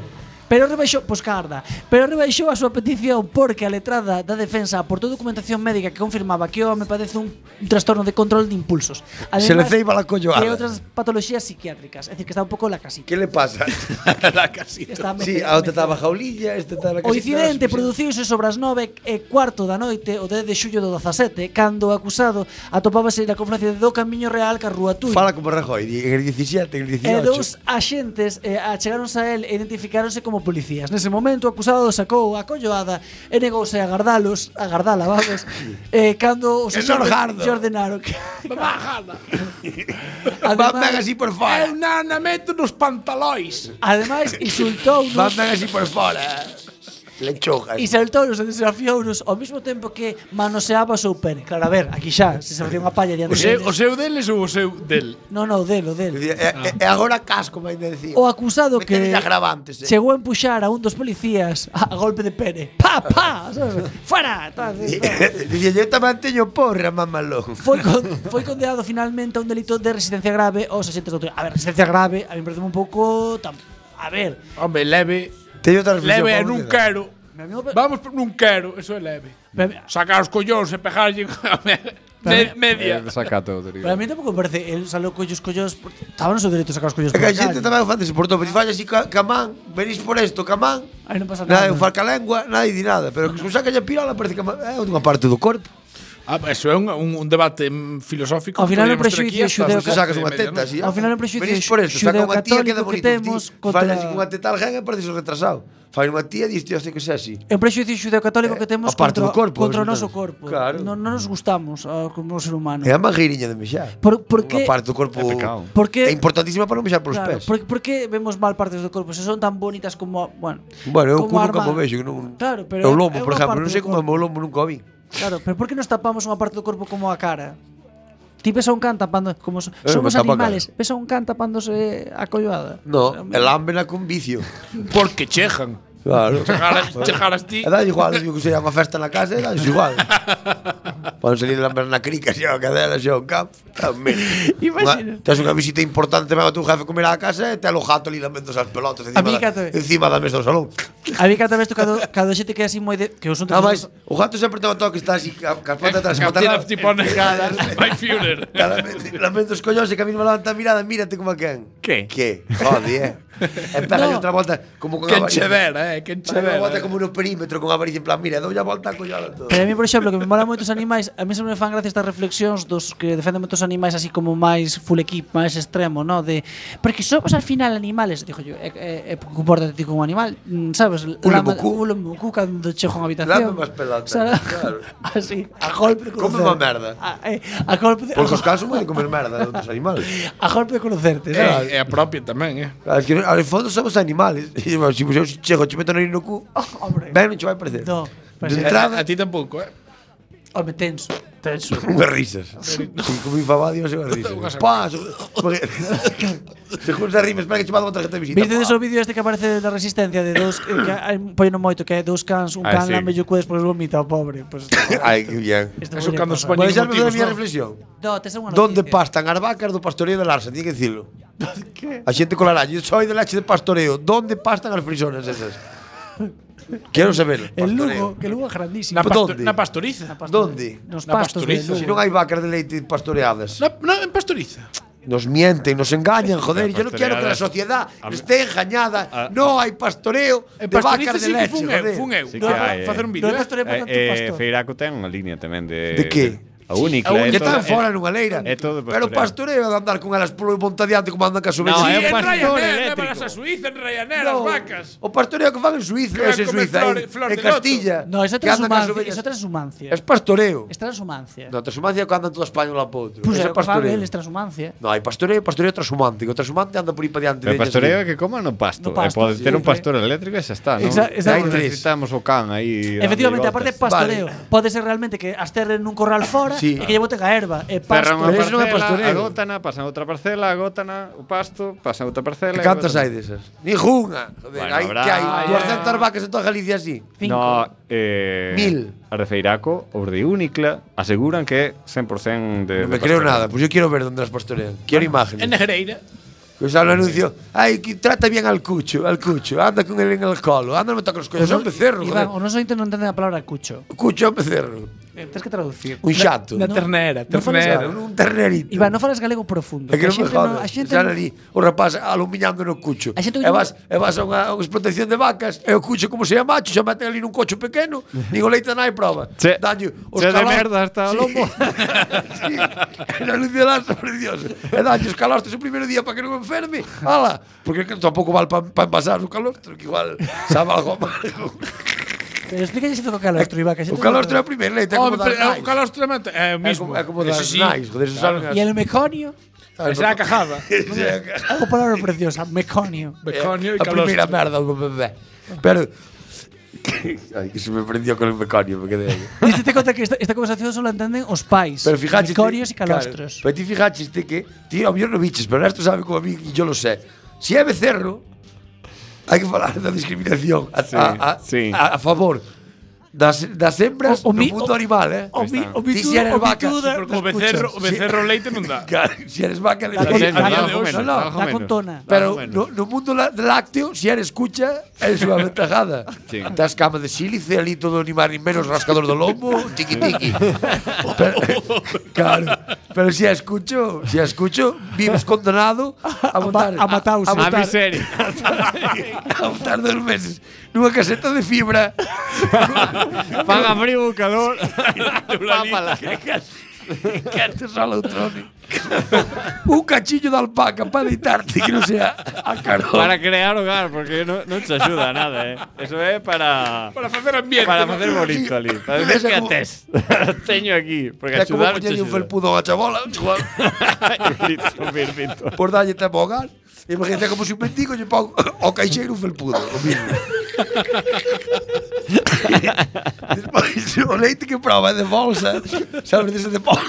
Pero rebaixou, pois carda, pero rebaixou a súa petición porque a letrada da defensa aportou documentación médica que confirmaba que o home padece un, un trastorno de control de impulsos. Se le ceiba la colloada. E outras patologías psiquiátricas, é dicir, que está un pouco en la casita. Que le pasa? la casita. Está me- Sí, me- a outra me- estaba jaulilla, esta estaba la O casita. incidente la suficiente. produciuse sobre as 9 e cuarto da noite o 10 de xullo do 17, cando o acusado atopábase na confluencia do Camiño Real ca Rúa Tui. Fala como Rajoy, di- en el 17, en el E 18. dous axentes eh, achegáronse a el e identificáronse como policías. Nese momento o acusado sacou a colloada e negouse a agardalos, a agardala, vamos. eh, cando os Que non gardo. lle ordenaron que Bajada. Batman así por Eu Eh, fora. nana meto nos pantalóis. ademais insultounos Batman así por fora. Lechugas. insultounos e desafiounos ao mesmo tempo que manoseaba o seu pene. Claro, a ver, aquí xa se se facía unha palla diante O seu, deles. o seu deles ou o seu del? Non, non, delo, delo. E, e, e agora eh, casco, vai decir. O acusado Me que tenes agravantes, eh. chegou a empuxar a un dos policías a, a golpe de pene. Pa, pa, sabes? fora. tal, tal. Dicía, yo tamén teño porra, mamalón. Foi, con, foi condenado finalmente a un delito de resistencia grave aos axentes do autor. A ver, resistencia grave, a mí me parece un pouco... Tam, a ver, Home, leve. Teño outra reflexión. Leve, Pablo, non que dá. quero. Vamos, non quero. Eso é leve. para, Sacar os collóns e pegarlle a me- me- media. Desacato, para mí tampouco me parece el saló collos collos... por- Estaba no seu dereito a sacar os collos É por a que a xente tamén facese por todo. Ti fallas así, ca- camán, venís por esto, camán. Aí non pasa nada. Nada, eu falca lengua, nadie di nada. Pero que se saca a pirola parece que é unha parte do corpo. Ah, eso é un, un, un debate mm, filosófico. Ao que final, o podíamos ter prexuízo aquí hasta xudeo- as Se sacas unha medianoite. teta así. Ao final é un prexuízo Venís por esto, saca unha tía, queda xudeo-católico que bonito. Que temos contra- Fallas así cunha teta alguén e parece un retrasado. Fai unha tía e diste, hostia, que sea así. É un prexuicio xudeo-católico que temos Eh, a parte contra, do corpo, contra o resulta. noso corpo. Claro. Non, non nos gustamos ah, como ser humano. É a mangueiriña de mexar. Por, por Unha que... parte do corpo É pecado. Por que- é importantísima para non mexar polos Claro, pés. por, por que vemos mal partes do corpo? Se son tan bonitas como, bueno, Bueno, eu como culo nunca arma- mo vexo, que non. Claro, pero é- o é lombo, por unha exemplo, parte non sei do como é o corpo. meu lombo, nunca o vi. Claro, pero por que nos tapamos unha parte do corpo como a cara? Ti pesa un can tapando como so, Eh, somos me tapa a animales, pesa un can tapándose a colloada. No, el ámbena con vicio. Porque chejan. Claro. Chegaras, chegaras ti. E dá igual, digo que sería unha festa na casa, e dá igual. Poden salir lamber na crica, xa a cadela, xa o campo. Tamén. Imagina. Unha- Tes unha visita importante, vai o teu jefe comer á casa e te alo jato ali lambendo as pelotas encima, mí da, cátame. encima da mesa do salón. A mí cada vez tocado cada xente que é así moi de que os Nada máis, o gato sempre ten o toque que está así, ca- cas patas atrás, Captain matará. of Tipone. Vai Führer. Lamento os collóns e que a mesma levanta a mirada, mírate como a quen. Que? Que? Jode, eh. E pega No. outra volta como con Quen che varilla. dera, eh? Quen che Pega unha volta dera. como no perímetro con a varilla en plan, mira, doulle a volta a collada todo. Pero a mí, por exemplo, que me mola moitos animais, a mí sempre me fan gracia estas reflexións dos que defenden moitos animais así como máis full equip, máis extremo, no? De, porque somos al final animales, dixo yo, eh, eh, eh, compórtate ti como un animal, mm, sabes? Lama- mucú. Ule mucú cando chego a unha habitación. Lame as pelotas, claro. Así, a golpe de Come conocer. má merda. A, eh, a golpe de, Porque a, os casos moi de comer merda dos animales. a golpe de conocerte, sabes? É, é a propia tamén, eh? Claro, es que al fondo somos animales. E, bueno, se eu chego, che meto no no cu, Hombre. ben non che vai parecer. No, pues, eh, De parece- A, a entrada, ti tampouco, eh? Home, tenso. Tenso. unhas risas. Si comí fabadi, unhas risas. Pá, so- porque- se juntas rimes, espera que che mando outra gente de visita. Viste Pá. deso vídeo este que aparece da resistencia de dous que, que hai poñeno moito que hai dous cans, un Ah, can sí. lame o cu despois vomita o pobre, pois. Ai, que bien. Este Eso cando se Bueno, poñen xa me da a motivos, miña non? reflexión. pues, No, tes unha Donde noticia. pastan as vacas do pastoreo de Larsa, tiñe que dicilo. A xente colará, eu soy de leche de pastoreo. Donde pastan as frisonas esas? Quero saberlo. El pastoreo. Lugo, que Lugo é grandísimo. Na, pasto Donde? na pastoriza. Donde? Nos na pastos de pastoriza, Lugo. Se non hai vacas de leite pastoreadas. Na, na, en pastoriza. Nos mienten, nos engañan, joder. Yo no quiero que la pastoreadas. Ah. sociedad esté engañada. No hay pastoreo de En vacas de pastoriza Eh, sí que leche, fun eu, fun joder. eu. Sí No, que para hai, eh. facer un Non vídeo. é eh. pastoreo, por tanto, eh, pastor. Feiraco ten unha línea tamén de... De que? A única. ¿eh? é Que toda- están fora é- nunha leira. é eh, todo Pero o pastoreo é de andar con elas polo monte adiante como andan cas ovellas. No, é Sí, é eh, un Ryanair. pastor Levaras a eléctrico. Suiza en Ryanair, No, as vacas. O pastoreo que fan en Suiza, Que van ese en comer Suiza, flor- aí, flor en de loto. Castilla. No, esa que andan cas transhumancia. ovellas. Esa transhumancia. Es pastoreo. Es Pues transhumancia. No, transhumancia é cando andan toda España lá para outro. Pois Ese é, o é que fan pastoreo. eles transhumancia. No, hai pastoreo, pastoreo transhumántico. O transhumante anda por aí para diante O delas. pastoreo é que coman no No pasto. pasto, e sí, pode ter sí. un pastor eléctrico e xa está, non? Exa- exacto. Non necesitamos o can aí. dando Efectivamente, aparte voltas. pastoreo. Pode ser realmente que as terren nun corral fora Sí. e que lle boten a erva. E pasto. Cerran unha Pero eso non é parcela, pastoreo. agótana, pasan a outra parcela, agótana, o pasto, pasan a outra parcela. e Cantas agótana. hai desas? Nijunha. Joder, Bueno, hai habrá- que hai Ay, 200 vacas en toda Galicia así. Cinco. No, eh, Mil. A de Feiraco, os de Únicla, aseguran que é 100% de No me de creo pastoreo. nada, pues yo quiero ver dónde las pastorean. Quiero imágenes. En Negreira. Pues al anuncio, ay, que trata bien al cucho, al cucho, anda con él en el colo, anda, no me toca los Pero cuellos, es non- un becerro, Iván, o joder. noso ointe non entende a palabra cucho. Cucho é un becerro, Eh, Tens que traducir. un xato, Na No. ternera, No fales ternera. claro, un ternerito. Iván, non falas galego profundo. É que a non me xente non- jodas, a xente xa non- ali, o rapaz alumiñando no cucho. A xente E non- vas, e vas a unha, a unha explotación de vacas, e o cucho como se llama, macho, xa meten ali nun cocho pequeno, nin o leite nai prova. Che- Danlle os che de calor- merda hasta o lombo. sí, en anuncio de lanza, precioso. E danlle os calostros o primeiro día para que non enferme, ala, porque que tampouco vale para pa envasar o calostro, que igual sabe algo amargo. Pero explícalle isto do calostro, Iván. Que a O xente non- calor é o primeiro leite, é como Home, dar pero nais. o calostro é o É Eh, mismo. como, é como dar Eso sí. nais, joder, eso saben E as- el meconio, saben Esa é a o- cajada. Esa é a ca- algo palabra preciosa, meconio. Beconio e a primeira calostro. merda do bebé. Pero Ai, que se me prendió con el meconio, me quedei. aí. Diste te conta que esta, esta conversación solo entenden os pais, Pero fijaches meconios e calostros. Claro, pero ti fijaches que ti ao mellor no biches, pero Ernesto sabe como a mí e yo lo sé. Si é becerro, hai que falar da discriminación a, Sí, a, a, sí. a, a favor das, das hembras O- o no mi- mundo o- animal, eh? o mi- o Ti mituda- si eres o vaca, mituda- si por- O becerro, o becerro leite non dá. Claro, si eres vaca, de con- Menos, Ah, no, algo no, menos, no, algo da menos. Ah, contona. Algo Pero menos. no, no mundo lá- lácteo, si eres cucha, es unha aventajada. Sí. Das cama de sílice ali todo ni más ni menos rascador do lombo, tiqui tiqui. Pero, claro, pero si es cucho, si es cucho, vives condenado a botar a matause. a, A botar, miseria. a botar dos meses nunha caseta de fibra. Paga frío o calor. Pápala. que antes só o trono. Un cachillo de alpaca para deitarte que non sea a carón. Para crear hogar, porque non, non te axuda a nada, eh. Eso é para... Para facer ambiente. Para facer bonito ali. Para Ves dizer que como- ates. Teño aquí. Porque É como axudar non te poñerlle un axuda. felpudón a chabola, igual. Perfecto. por darlle tempo ao gas. Imagínate como se un mendigo lle pon ao caixeiro un felpudo, o mismo. Despois, o leite que proba é de bolsa, sabes, dese de polo.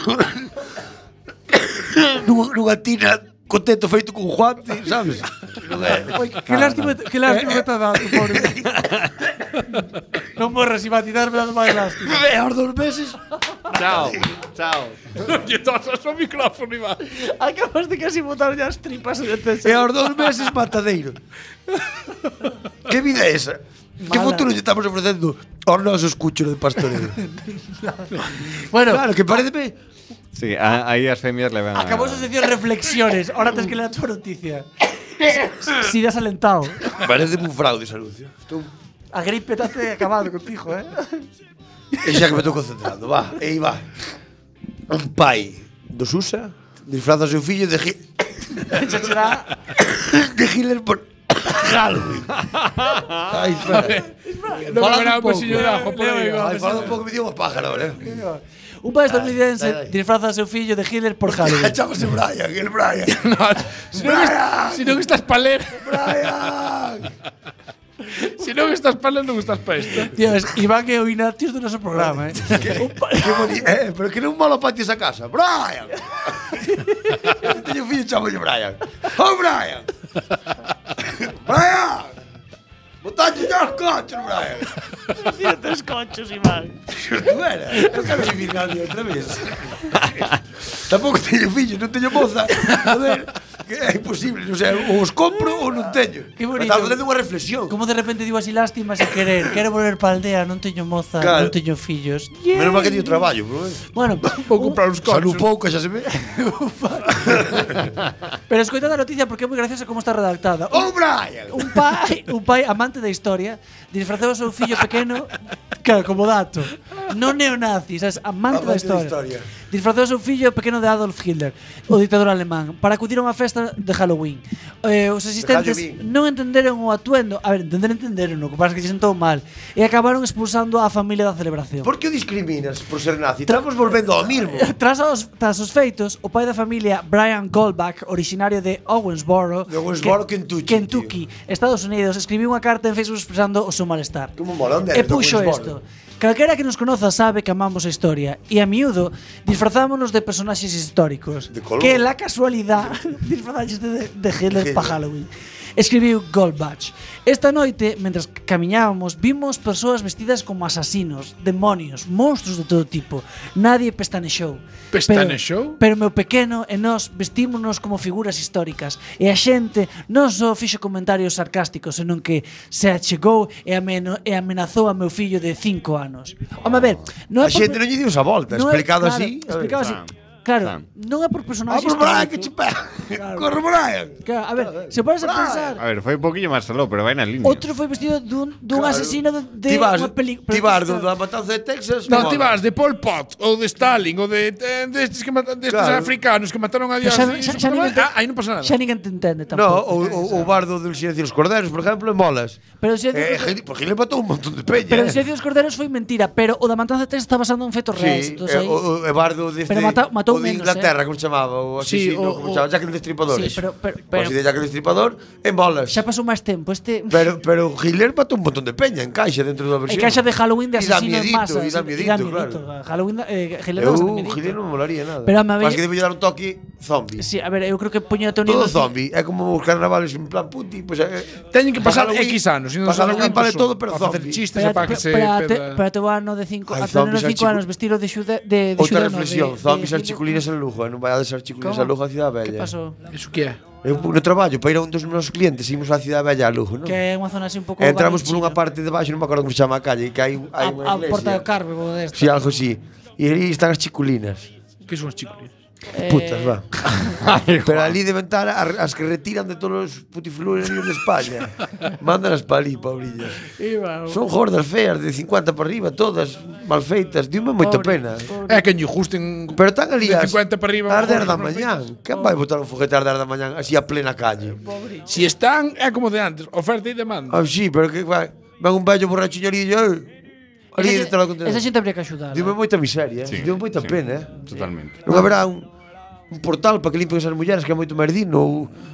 Nunha, nunha tina co teto feito con guante, sabes? Non é. Que lástima, que lástima que te dado, pobre. non morras, Iván, ti darme dando máis lástima. É aos dos meses. Chao. Chao. Lle tosas o micrófono, Iván. Acabas de casi botar as tripas de É aos dos meses matadeiro. Que vida é esa? Que Mala. futuro lle estamos ofrecendo aos nosos cuchos de pastoreo? Bueno, Claro, que pareceme Sí, a- aí as femias levan. a- acabou a sección reflexiones. Ahora tens que ler a tua noticia. Si das alentado. Pareceme un fraude ese anuncio. Estou A gripe tate acabado contigo, eh? E xa que me estou concentrando, va, e aí va. Un pai do Susa disfraza o seu fillo de, Hi- Xa será de Hitler por Halloween. Ai, espera. Non Falad me verá un un pesiño pouco. de ajo por aí. Ai, falando un pouco me dio unha pájara, ahora. eh. un pai estadounidense Dai, dai, dai. disfraza a seu fillo de Hitler por Halloween. Chámase Brian, el Brian. Brian! Si non estás pa ler, Brian! si non estás pa ler, non estás pa isto. Tío, es Iván que é o Ignatius do noso programa, eh? Un pa- Que boni- eh, pero que non mola patio esa casa. Brian! Eu teño un fillo chamolle Brian. Oh, Brian! Brian! Botalle ya os coches, Brian! Tres conchos, Iván. Tú era, eh, non sabes vivir nadie outra vez. Tampouco teño fillos, non teño moza. Joder, que é imposible, non sei, ou os compro ou non teño. Que bonito. Estaba facendo unha reflexión. Como de repente digo así lástima sen querer Quero volver pa aldea, non teño moza, non Claro. teño fillos Menos mal que teño traballo, bro. eh. Bueno, Vou un- comprar uns Salud cochos. pouco, xa se ve. pero escoita a noticia porque é moi graciosa como está redactada Oh, Brian! un pai, un pai amante da historia disfrazou o seu fillo pequeno Claro, como dato. Non neonazi, sabes, amante, da Amante da historia. historia. Disfrazou seu fillo pequeno de Adolf Hitler, o dictador alemán, para acudir a unha festa de Halloween. Eh, os asistentes Halloween. non entenderon o atuendo, a ver, entender entenderon, o que pasa é que lle sentou mal, e acabaron expulsando a familia da celebración. Por que o discriminas por ser nazi? Estamos volvendo ao mismo. Tras os, tras os feitos, o pai da familia Brian Goldbach, originario de Owensboro, De Owensboro, Kentucky, Kentucky Estados Unidos, escribiu unha carta en Facebook expresando o seu malestar. Como mola, onde E eres de puxo isto. Owensboro? Calquera que nos conoza sabe que amamos a historia e a miúdo disfrazámonos de personaxes históricos. De Colón. que la casualidade disfrazáxeste de, de Hitler Hitler. para Halloween. Escribiu Goldbach. Esta noite, mentras camiñábamos, vimos persoas vestidas como asasinos, demonios, monstruos de todo tipo. Nadie pestanexou. Pestanexou? Pero, pero meu pequeno e nós vestímonos como figuras históricas. E a xente non só fixo comentarios sarcásticos, senón que se achegou e, ameno, e amenazou a meu fillo de 5 anos. Home, a ver, non é A xente non lle dio esa volta, non é- explicado claro, así. Explicado así. Sam, Claro, Sam. non é por personaxe Vamos, Ah, Brian, que che histórico. pega. Corre, Brian. Claro, a ver, se pones a Brian. pensar, A ver, foi un poquillo máis aló, pero vai na línea. outro foi vestido dun, dun Claro. asesino de, de Ti vas- unha película. Ti vas do- da matanza de Texas. Non, mola. ti vas de Pol Pot ou de Stalin ou de, de, destes, que mata, destes Claro. africanos que mataron a Dios. Xa- xa- xa ninguén te- ah, aí non pasa nada. Xa ninguén te entende No, tampouco. o, o, o bardo do Silencio dos Cordeiros, por exemplo, molas. pero se Eh, Gil- porque le matou un montón de peña. Pero eh. el silencio dos corderos foi mentira, pero o da matanza de Texas está basado en fetos reais. Sí, Entonces, eh, entón aí- o, o e bardo deste, Pero mata- matou o de menos, ¿eh? Inglaterra, como se chamaba, o Sí, asesino, o- como o- se chamaba, Jack el Destripador. Sí, eso. pero- pero- O pero- así de Jack el Destripador, en bolas. xa pasou máis tempo. Este Pero, pero Hitler matou un montón de peña en caixa dentro da e versión. caixa de Halloween de E dá asesino en miedito, masa. E sí, dá miedito, claro. miedito. Halloween, da- eh, Hitler dá Eu, bastante miedito. Hitler non molaría nada. Pero a mí- Mas que debe dar un toque zombie. Sí, a ver, eu creo que poño a Tony Todo Goodman- zombie. É como os carnavales en plan puti. Pues, eh, Teñen que pasar para Halloween- X anos. Para Halloween vale todo, pero para facer zombie. chistes e Para, para que para, se para, te, peda- para teu ano de 5 Ai, a teu neno zombies de ar 5 chicu- anos vestido de xude de, de Outra xudano, reflexión, de- zombies de- articulinas en Lugo, eh, non vai a deixar articulinas Como? en Lugo a Cidade Que Bella. pasou? Iso que é? Eu no traballo, para ir a un dos meus clientes, ímos á Cidade Bella a Lugo, non? Que é unha zona así un pouco E entramos por barrio unha chino. parte de baixo, non me acordo como se chama a calle, que hai, hai unha a, a iglesia. porta do Carmen, como desta. Si, algo así. E aí están as chiculinas. Que son os chicos? Eh. Putas, va. Pero ali de ventana ar- as que retiran de todos os putifluros de España. Mándalas para ali, pobrillas. Son gordas feas, de 50 para arriba, todas mal feitas. Dime moita pena. eh. É que lle gusten Pero están ali de as, 50 para arriba. as 10 da mejor, mañán. Quen vai botar un foguete ás 10 da mañán así a plena calle? perfecto. Si están, é como de antes, oferta e demanda. Ah, sí, pero que vai? Ven un vello borrachiño ali e... Ali Esa detrás do xente- Esa contenedor. xente habría que axudar. Dime moita miseria, Sí, sí, dime moita sí. pena, eh? Totalmente. Non haberá un, un portal para que limpen esas mulleres que é moito máis digno ou,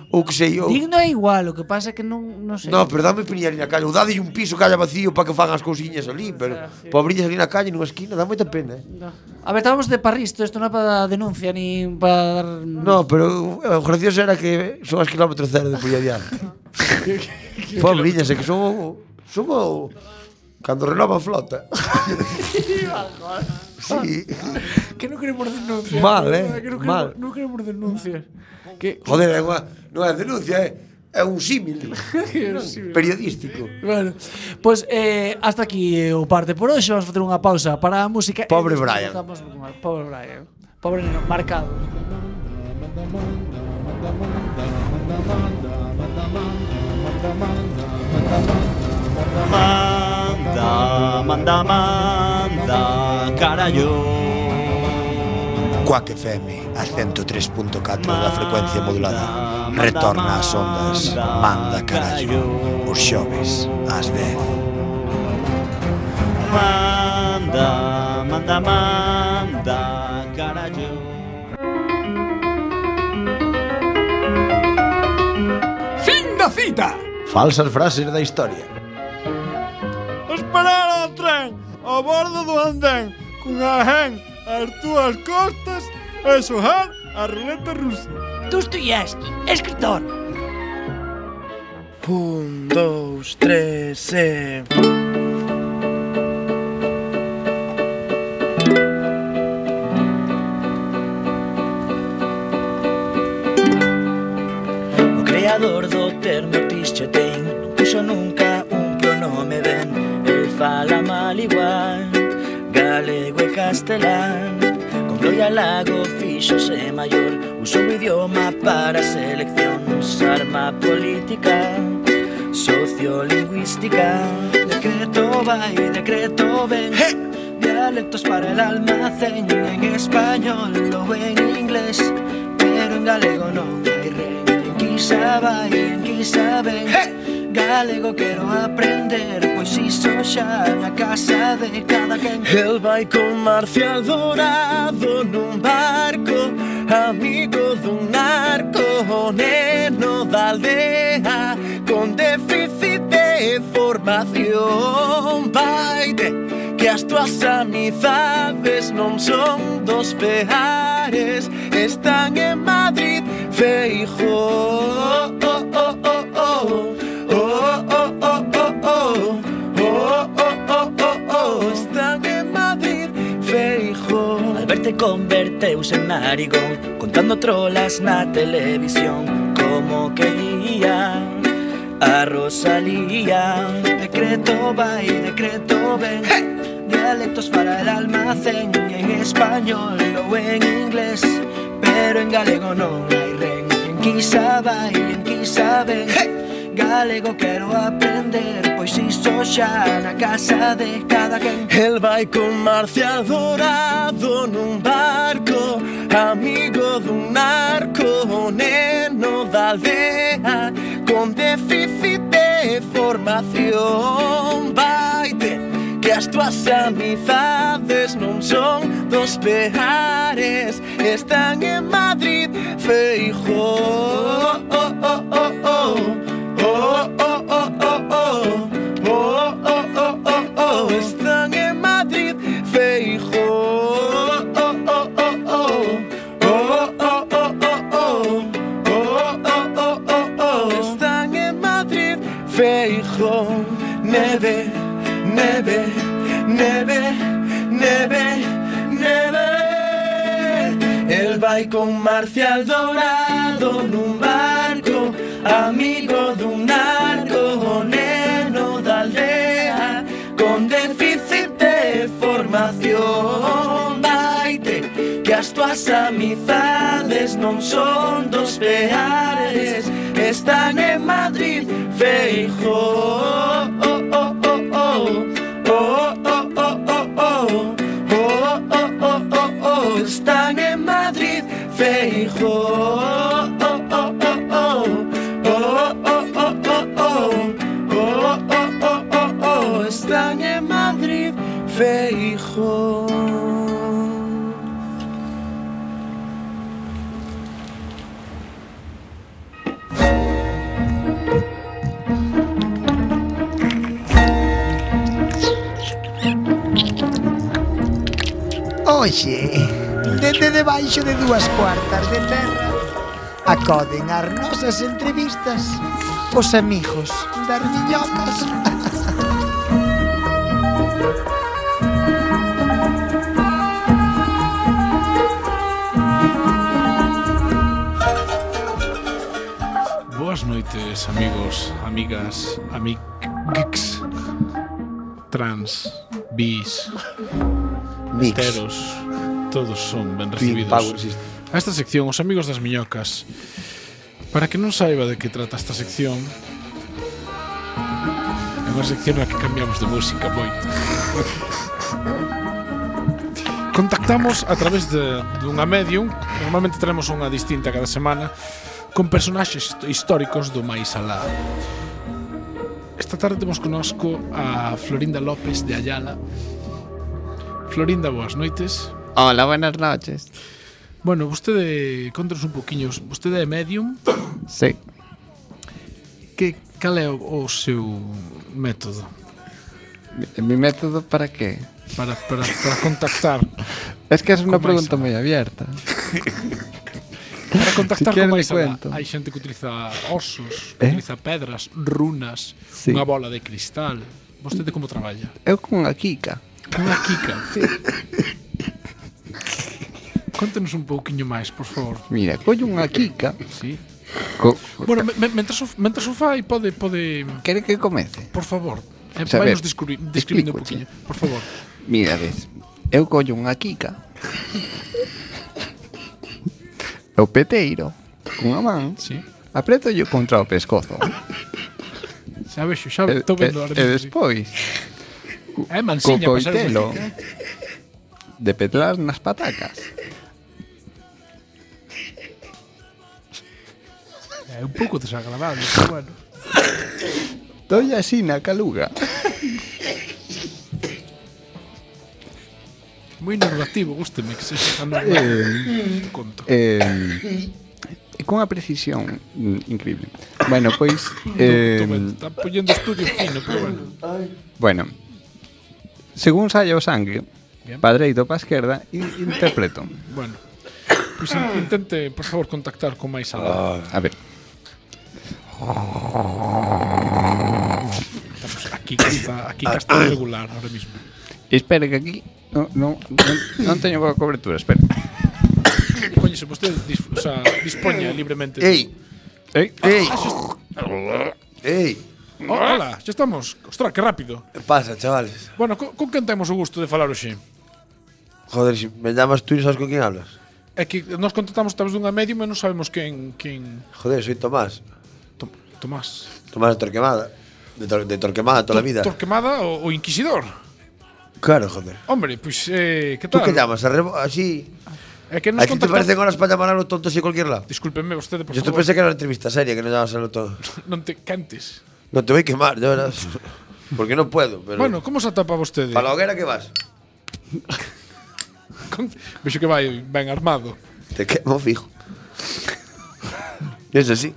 ou que sei eu. Digno é igual, o que pasa é que non, non sei. No, pero dame piñar na calle, ou dade un piso que haya vacío para que fagan as cousiñas ali, pero pobrillas ali na calle, nunha esquina, dá moita pena, eh? No. A ver, estábamos de parristo, isto non é para denuncia ni para dar No, pero eh, o gracioso era que son as kilómetro cero de Pulla Diante. pobrillas, é que son o... Son o... Cando renovan flota. sí. que non queremos denuncias. Mal, eh, Que non queremos- mal. Non queremos denuncias. Joder, é unha, non é denuncia, é, é un símil periodístico. Bueno, pois pues, eh, hasta aquí eh, o parte por hoxe, vamos facer unha pausa para a música. e Pobre despois Brian. voltamos con máis. Pobre Brian. Pobre neno, marcado. Manda, manda, manda, carallo. Cuac FM, a 103.4 da frecuencia modulada. Manda, Retorna ás ondas, manda, manda carallo, os xoves, ás 10. Manda, manda, manda, carallo. Falsas frases da historia. Esperar ao Ah. tren a bordo do andén Con a gen as túas costas E xojar a ruleta rusa Dostoyevsky, escritor. Un, dos, tres, e... O creador do termo Pichotín Non puxo nunca un pronome ben El fala mal igual Galego e castelán Con gloria lago fixose maior Usou o idioma para a selección Usar má política Sociolingüística Decretou escoba y decreto ven. Dialectos para el almacén. En español o en inglés. Pero en galego no hay ren. En quizaba y en quisaben. Galego quiero aprender, pois iso xa na casa de cada quen El vai con Marcial Dorado nun barco Amigo dun narco O neno da aldea Con déficit de formación Vai de que as tuas amizades Non son dos peares Están en Madrid Feijóo oh, oh, oh, oh. Oh, oh, oh, oh, oh. Oh, oh, oh, oh, oh. Están en Madrid, Feijóo Al verte converteuse en narigón Contando trolas na televisión Como quería a Rosalía Decreto va y decreto ven Dialectos para el almacén En español o en inglés Pero en galego no hay ren En quizá va y en quizá ven Galego quero aprender pues Pois iso xa na casa de cada quen El vai con Marcial Dorado nun barco Amigo dun narco O neno da aldea Con déficit de formación Vaite que as tuas amizades non son dos peares Están en Madrid, Feijóo oh, oh, oh, oh. Oh, oh, oh, oh, oh. Oh, oh, oh, oh, oh. Están en Madrid, Feijóo. Oh, oh, oh, oh. Oh, oh, oh, oh, oh. Oh, oh, oh, oh, oh. Están en Madrid, Feijóo. Neve, neve, neve, neve, neve. El vai con Marcial Dorado nun barco Amigo dun narco o neno da aldea Con déficit de formación Vaite que as tuas amizades non son dos peares Están en Madrid, Feijóo oh, oh, oh, oh. Oh, oh, oh, oh, oh. Oh, oh, oh, oh, oh. Están en Madrid, Feijóo oh, oh, oh, oh. Oh, oh, oh, oh, oh. Oh, oh, oh, oh, oh. Están en Madrid, Feijóo Oxe, desde debaixo de dúas cuartas de terra acoden as nosas entrevistas os amigos das miñocas. Boas noites, amigos, amigas, amic geeks, trans, bis, Mix. heteros, todos son ben Twin recibidos. Power System. A esta sección, os amigos das miñocas. Para que non saiba de que trata esta sección, é unha sección na que cambiamos de música moito. Contactamos a través de, dunha medium, normalmente tenemos unha distinta cada semana, con personaxes hist- históricos do máis alá. Esta tarde temos conosco a Florinda López de Ayala. Florinda, boas noites. Hola, buenas noches. Bueno, vostede, contanos un poquinho, vostede é medium, Sí. que cal é o, o seu método Mi, mi método para qué? para, para, para contactar, Es que es una Con pregunta muy abierta. para contactar Si con quere máis le alá? cuento. Hai xente que utiliza osos, Eh? utiliza pedras, runas, Sí. unha bola de cristal. Vostede como traballa? Eu con a Kika. Unha kika. Contanos un pouquiño máis, por favor. Mira, coño unha Kika. Sí. Co, Bueno, me, me, mentras, o, mentras o fai, pode... pode... Quere que comece? Por favor. Eh, Xa, a vai ver, nos descubri, describindo un explícoche. poquinho. um Por favor. Mira, ves. Eu collo unha Kika. O peteiro cunha man. Sí. Apreto yo contra o pescozo. Xa vexo, xa estou vendo. e, ahora e mismo, sí. despois É co mansiña, pasar coitelo de petlar nas patacas. É Eh, un pouco desagradable, pero bueno. Dolla así na caluga. Moi normativo, gústeme que se xa non Eh, te conto. eh, e cunha precisión mm, increíble. Bueno, pois eh, Está poñendo estudio fino, pero bueno. Bueno, según saia o sangue, Bien. padreito pa esquerda, in- interpreto. Bueno. Pois in- intente, por favor, contactar con máis Ah. alá. A ver. Estamos aquí que está, aquí que Ah. está regular ahora mismo. Espere que aquí non no, no, non teño boa cobertura, espera. Coño, se vostede dis, o sea, dispoña libremente. Ei. Ei. Ei. Ei. Oh, Hola, xa estamos. Ostras, que rápido. Que pasa, chavales? Bueno, con, con quen temos o gusto de falar hoxe? Joder, si me llamas tú y sabes con quién hablas. É que nos contratamos a través dunha medium e non sabemos quen... quen... Joder, soy Tomás. Tomás. Tomás de Torquemada. De, Tor- de Torquemada toda la vida. Torquemada o, o Inquisidor. Claro, joder. Hombre, pois, eh, que ¿Tú tal? qué llamas? A remo- Así. É ¿A que nos ti te parecen contactamos... horas para llamar a los tontos y cualquier lado? Discúlpeme vostede, por Yo te favor. pensé que era una entrevista seria, que no llamabas a los tontos. Non te cantes. No te voy a quemar, yo verás. Porque no puedo, pero. Bueno, como se atapa vostede? ¿Para la hoguera qué vas? Vexo que vai ben armado. Te quemo fijo. Eso sí.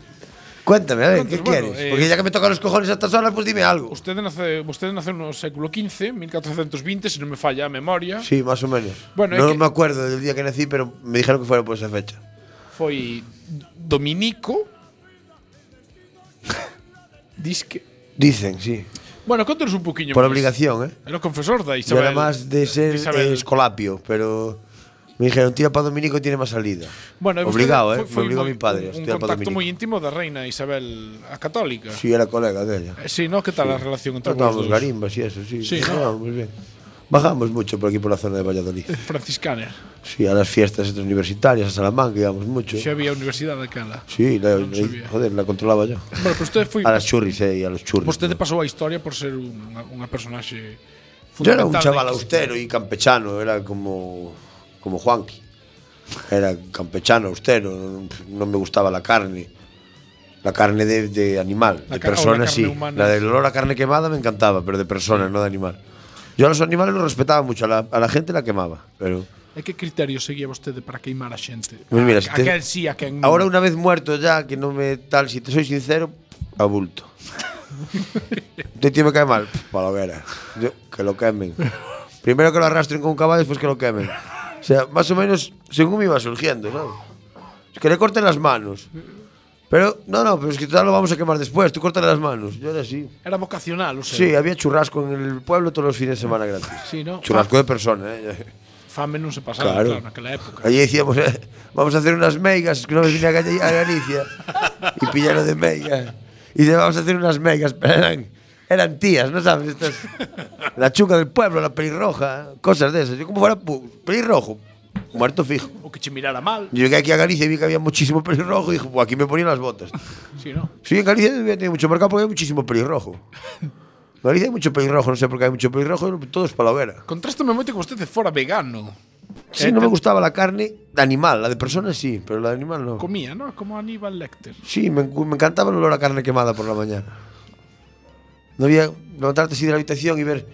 Cuéntame, a ver, ¿qué Entonces, bueno, quieres? eh, Porque ya que me tocan los cojones a estas horas, pues dime algo. Vostede nace, vostede nace no século XV, 1420, se non me falla a memoria. Sí, más o menos. Bueno, no es que- me acuerdo del día que nací, pero me dijeron que fuera por esa fecha. Foi dominico. Disque. Dicen, sí. Bueno, contanos un poquinho Por máis. obligación, ¿eh? Era o confesor da Yo Isabel. era más de ser Isabel. eh, escolapio, pero me dijeron, tira para Dominico y tiene más salida. Bueno, e vostede Obligado, ¿eh? foi- foi me obligó moi- mi padre a Un, un estudiar para contacto Dominico. moi íntimo da reina Isabel a católica. Sí, era colega de ella. Eh, Sí, ¿no? Que tal a relación entre vos Tocábamos dos? garimbas y eso, sí. Sí, ¿no? Llevábamos bien. Bajamos mucho por aquí, por la zona de Valladolid. Franciscana. Sí, a las fiestas estas universitarias, a Salamanca íbamos mucho. Xa había universidade aquela. Sí, la, Non la- sabía. joder, la controlaba yo. Bueno, pues usted foi A las churris, eh, y a los churris. Vostede pasou a historia por ser unha, unha personaxe Yo era un fundamental chaval da austero y campechano, era como, como Juanqui. Era campechano, austero, no me gustaba la carne. La carne de, de animal, La de car- o la persona carne sí. humana. La del olor a carne quemada me encantaba, pero de persona, no de animal. Yo a los animales los respetaba mucho, a la, a la gente la quemaba. Pero E que criterio seguía vostede para queimar a xente? Pues mira, a, si a te- quen sí, a quen non. ahora una vez muerto ya, que no me tal, si te soy sincero, abulto. Te tío me cae mal, para la hoguera. Yo- que lo quemen. Primero que lo arrastren con un caballo, después que lo quemen. O sea, más o menos según me iba surgiendo, ¿sabes? Es que le corten las manos. Pero, no, no, pero es que total lo vamos a quemar después, tú cortas las manos. Yo era así. Era vocacional, o sea. Sí, había churrasco en el pueblo todos los fines de semana gratis. Sí, ¿no? Churrasco de persona, ¿eh? Fame non se pasaba, Claro. claro, naquela época. Allí decíamos, eh, vamos a hacer unas meigas, que no me vine a Galle- a Galicia. y pillaron de meigas. Y dice, vamos a hacer unas meigas, pero eran, eran tías, ¿no sabes? Estas, la chuca del pueblo, la pelirroja, cosas de esas. Yo como fuera pu- pelirrojo, muerto fijo. O que che mirara mal, Yo llegué aquí a Galicia y vi que había muchísimo pelirrojo y dije, "Buah, aquí me ponían las botas. sí, no? Sí, en Galicia debía tener mucho mercado porque hay muchísimo pelirrojo. En Galicia hay mucho pelirrojo, no sé por qué hay mucho pelirrojo, todos para la hoguera. Contrástame moito que vostede fora vegano. Sí, no me gustaba la carne de animal, la de persona sí, pero la de animal no. Comía, ¿no? Como Aníbal Lecter. Sí, me, encu- me encantaba el olor a carne quemada por la mañana. No había levantarte así de la habitación y ver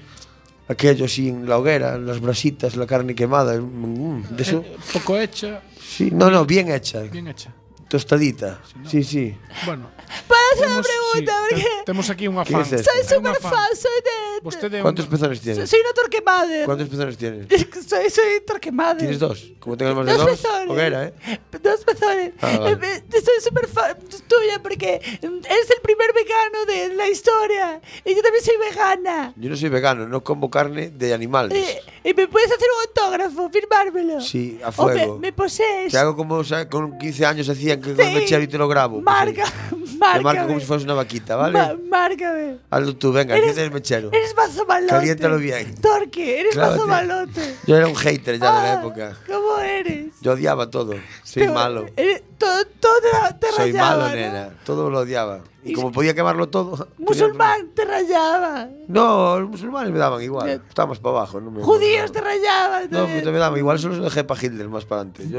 aquello así en la hoguera, las brasitas, la carne quemada. mm, de eso. Eh, pouco hecha, Sí, no, no, bien hecha, bien hecha. tostadita. Sí, sí. Bueno, Para esa Temos- pregunta, sí, porque te- temos aquí unha ¿Qué fan. es esto? soy Unha súper fan. fan, soy de... Vostede é ¿Cuántos unha- pezones tienes? Soy una Torquemada. ¿Cuántos pezones tienes? Soy, soy Torquemada. ¿Tienes dos? Como tengas más de Dos dos, pezones. hoguera, ¿eh? Dos pezones. Ah, vale. Eh, eh, Estoy súper fan tuya porque mm, eres el primer vegano de la historia. Y yo también soy vegana. Yo no soy vegano, no como carne de animales. Eh, y me puedes hacer un autógrafo, firmármelo. Sí, a O me, fuego. me posees. Te hago como o sea, con 15 años hacían que con el mechero y te lo grabo. pues ahí. Marca, Te marco márcame. como si fueras una vaquita, Ah, ¿vale? Ma- márcame. Hazlo tú, venga, enciende el mechero. Eres mazo malote. Caliéntalo bien. Torque, eres Ah. Claro, mazo tío. malote. Yo era un hater ya de la época. ¿Cómo eres? Yo odiaba todo. Soy Pero, malo. eres- tú todo, todo te Soy rayaba. malo, ¿no? nena. Todo lo odiaba. Y como podía quemarlo todo. Musulmán te rayaba. No, los musulmanes me daban igual. Estábamos para abajo. No me Judíos te rayaban. No, pues, me daban igual. Solo se lo dejé para Hitler más para adelante. Yo,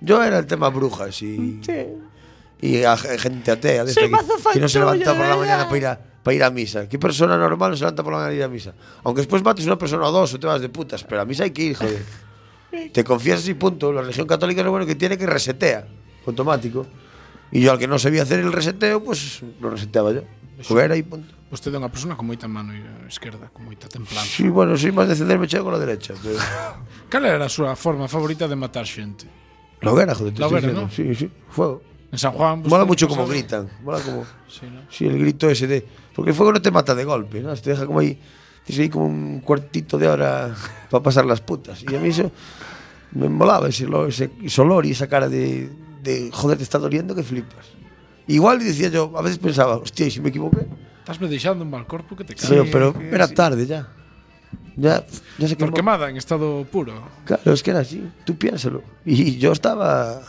yo era el tema brujas y, y a ge- gente atea. de Soy esta que- mazofan que no se tuyo, levanta de por la verdad. mañana para ir, a, para ir a misa. ¿Qué persona normal no se levanta por la mañana para ir a misa? Aunque después mates una persona o dos o te vas de putas. Pero a misa hay que ir, joder. Te confiesas y punto. La religión católica es lo bueno que tiene que resetea automático. Y yo al que no sabía hacer el reseteo, pues lo reseteaba yo. Jugar ahí, punto. Usted é unha persona con moita mano eh, esquerda, con moita templanza. Sí, bueno, soy más de ceder, me chego con la derecha. Pero... Cal era a súa forma favorita de matar xente? La hoguera, joder. te La estoy hoguera, diciendo. ¿no? Sí, sí, fuego. En San Juan... Mola vostede mucho pasaba- como gritan. Mola como. Sí, ¿no? Sí, el grito ese de. Porque el fuego no te mata de golpe, ¿no? Te deja como ahí. Tienes ahí como un cuartito de hora para pasar las putas. Y a mí eso. Me molaba ese, lo- ese, ese olor y esa cara de, de. Joder, te está doliendo que flipas. Igual decía yo, a veces pensaba, hostia, ¿y si me equivoqué? Estás me deixando un mal corpo que te cae. pero pero era tarde ya. Ya, ya se Por quemó. quemada, en estado puro. Claro, es que era así, tú piénsalo. Y yo estaba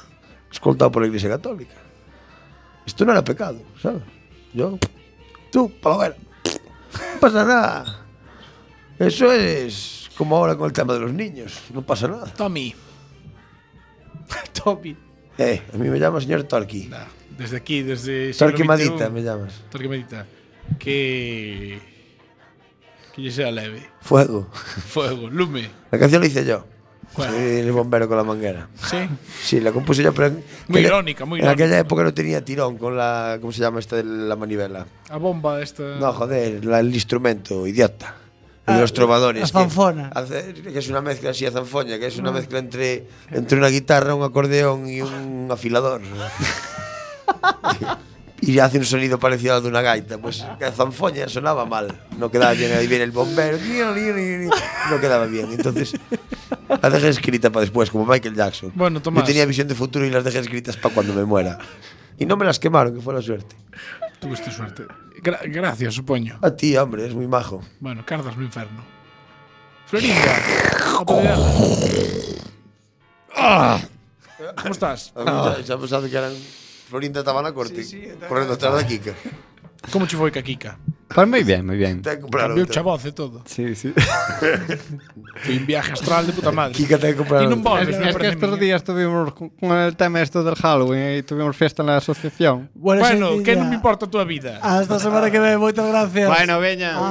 escoltado por la Iglesia Católica. Esto no era pecado, ¿sabes? Yo, tú, palomera, no pasa nada. Eso es como ahora con el tema de los niños, no pasa nada. Tommy. Tommy. Eh, a mí me llama señor Torqui. Desde aquí, desde... Torquemadita XXI. me llamas. Torquemadita. Que... Que yo sea leve. Fuego. Fuego, lume. La canción la hice yo. ¿Cuál? Sí, El bombero con la manguera. Sí. Sí, la compuse yo, pero. en- Muy en- irónica, muy En irónica. aquella época no tenía tirón con la. ¿Cómo se llama esta de la manivela? A bomba esta... No, joder, la- el instrumento, idiota. El de los trovadores. la que zanfona. hace- Que, es una mezcla así a zanfoña, que es una mezcla entre, entre una guitarra, un acordeón y un afilador. y hace un sonido parecido al de una gaita. Pues la zanfoña sonaba mal. No quedaba bien, ahí viene el bombero. No quedaba bien. Entonces la dejé escrita para después, como Michael Jackson. Bueno, Tomás. Yo tenía visión de futuro y las dejé escritas para cuando me muera. Y no me las quemaron, que fue la suerte. Tuviste suerte. Gra- gracias, supoño. A ti, hombre, es muy majo. Bueno, cartas no inferno. Florinda. apedreada. Ah. ¿Cómo estás? A mí xa- xa pensaba que eran Florinda Tabana Corte, correndo atrás da Kika. Como che foi ca Kika? Pues muy bien, muy bien. Ten que comprar Cambiou outra. cha voz e todo. Sí, sí. Foi un viaje astral de puta madre. Kika ten que comprar E non outra. volves, Es, non es que parece estos miña. días tuvimos con con el tema esto del Halloween y tuvimos fiesta en la asociación. Bueno, Sevilla. que non me importa a tua vida. Hasta semana que ven, moitas gracias. Bueno, veña.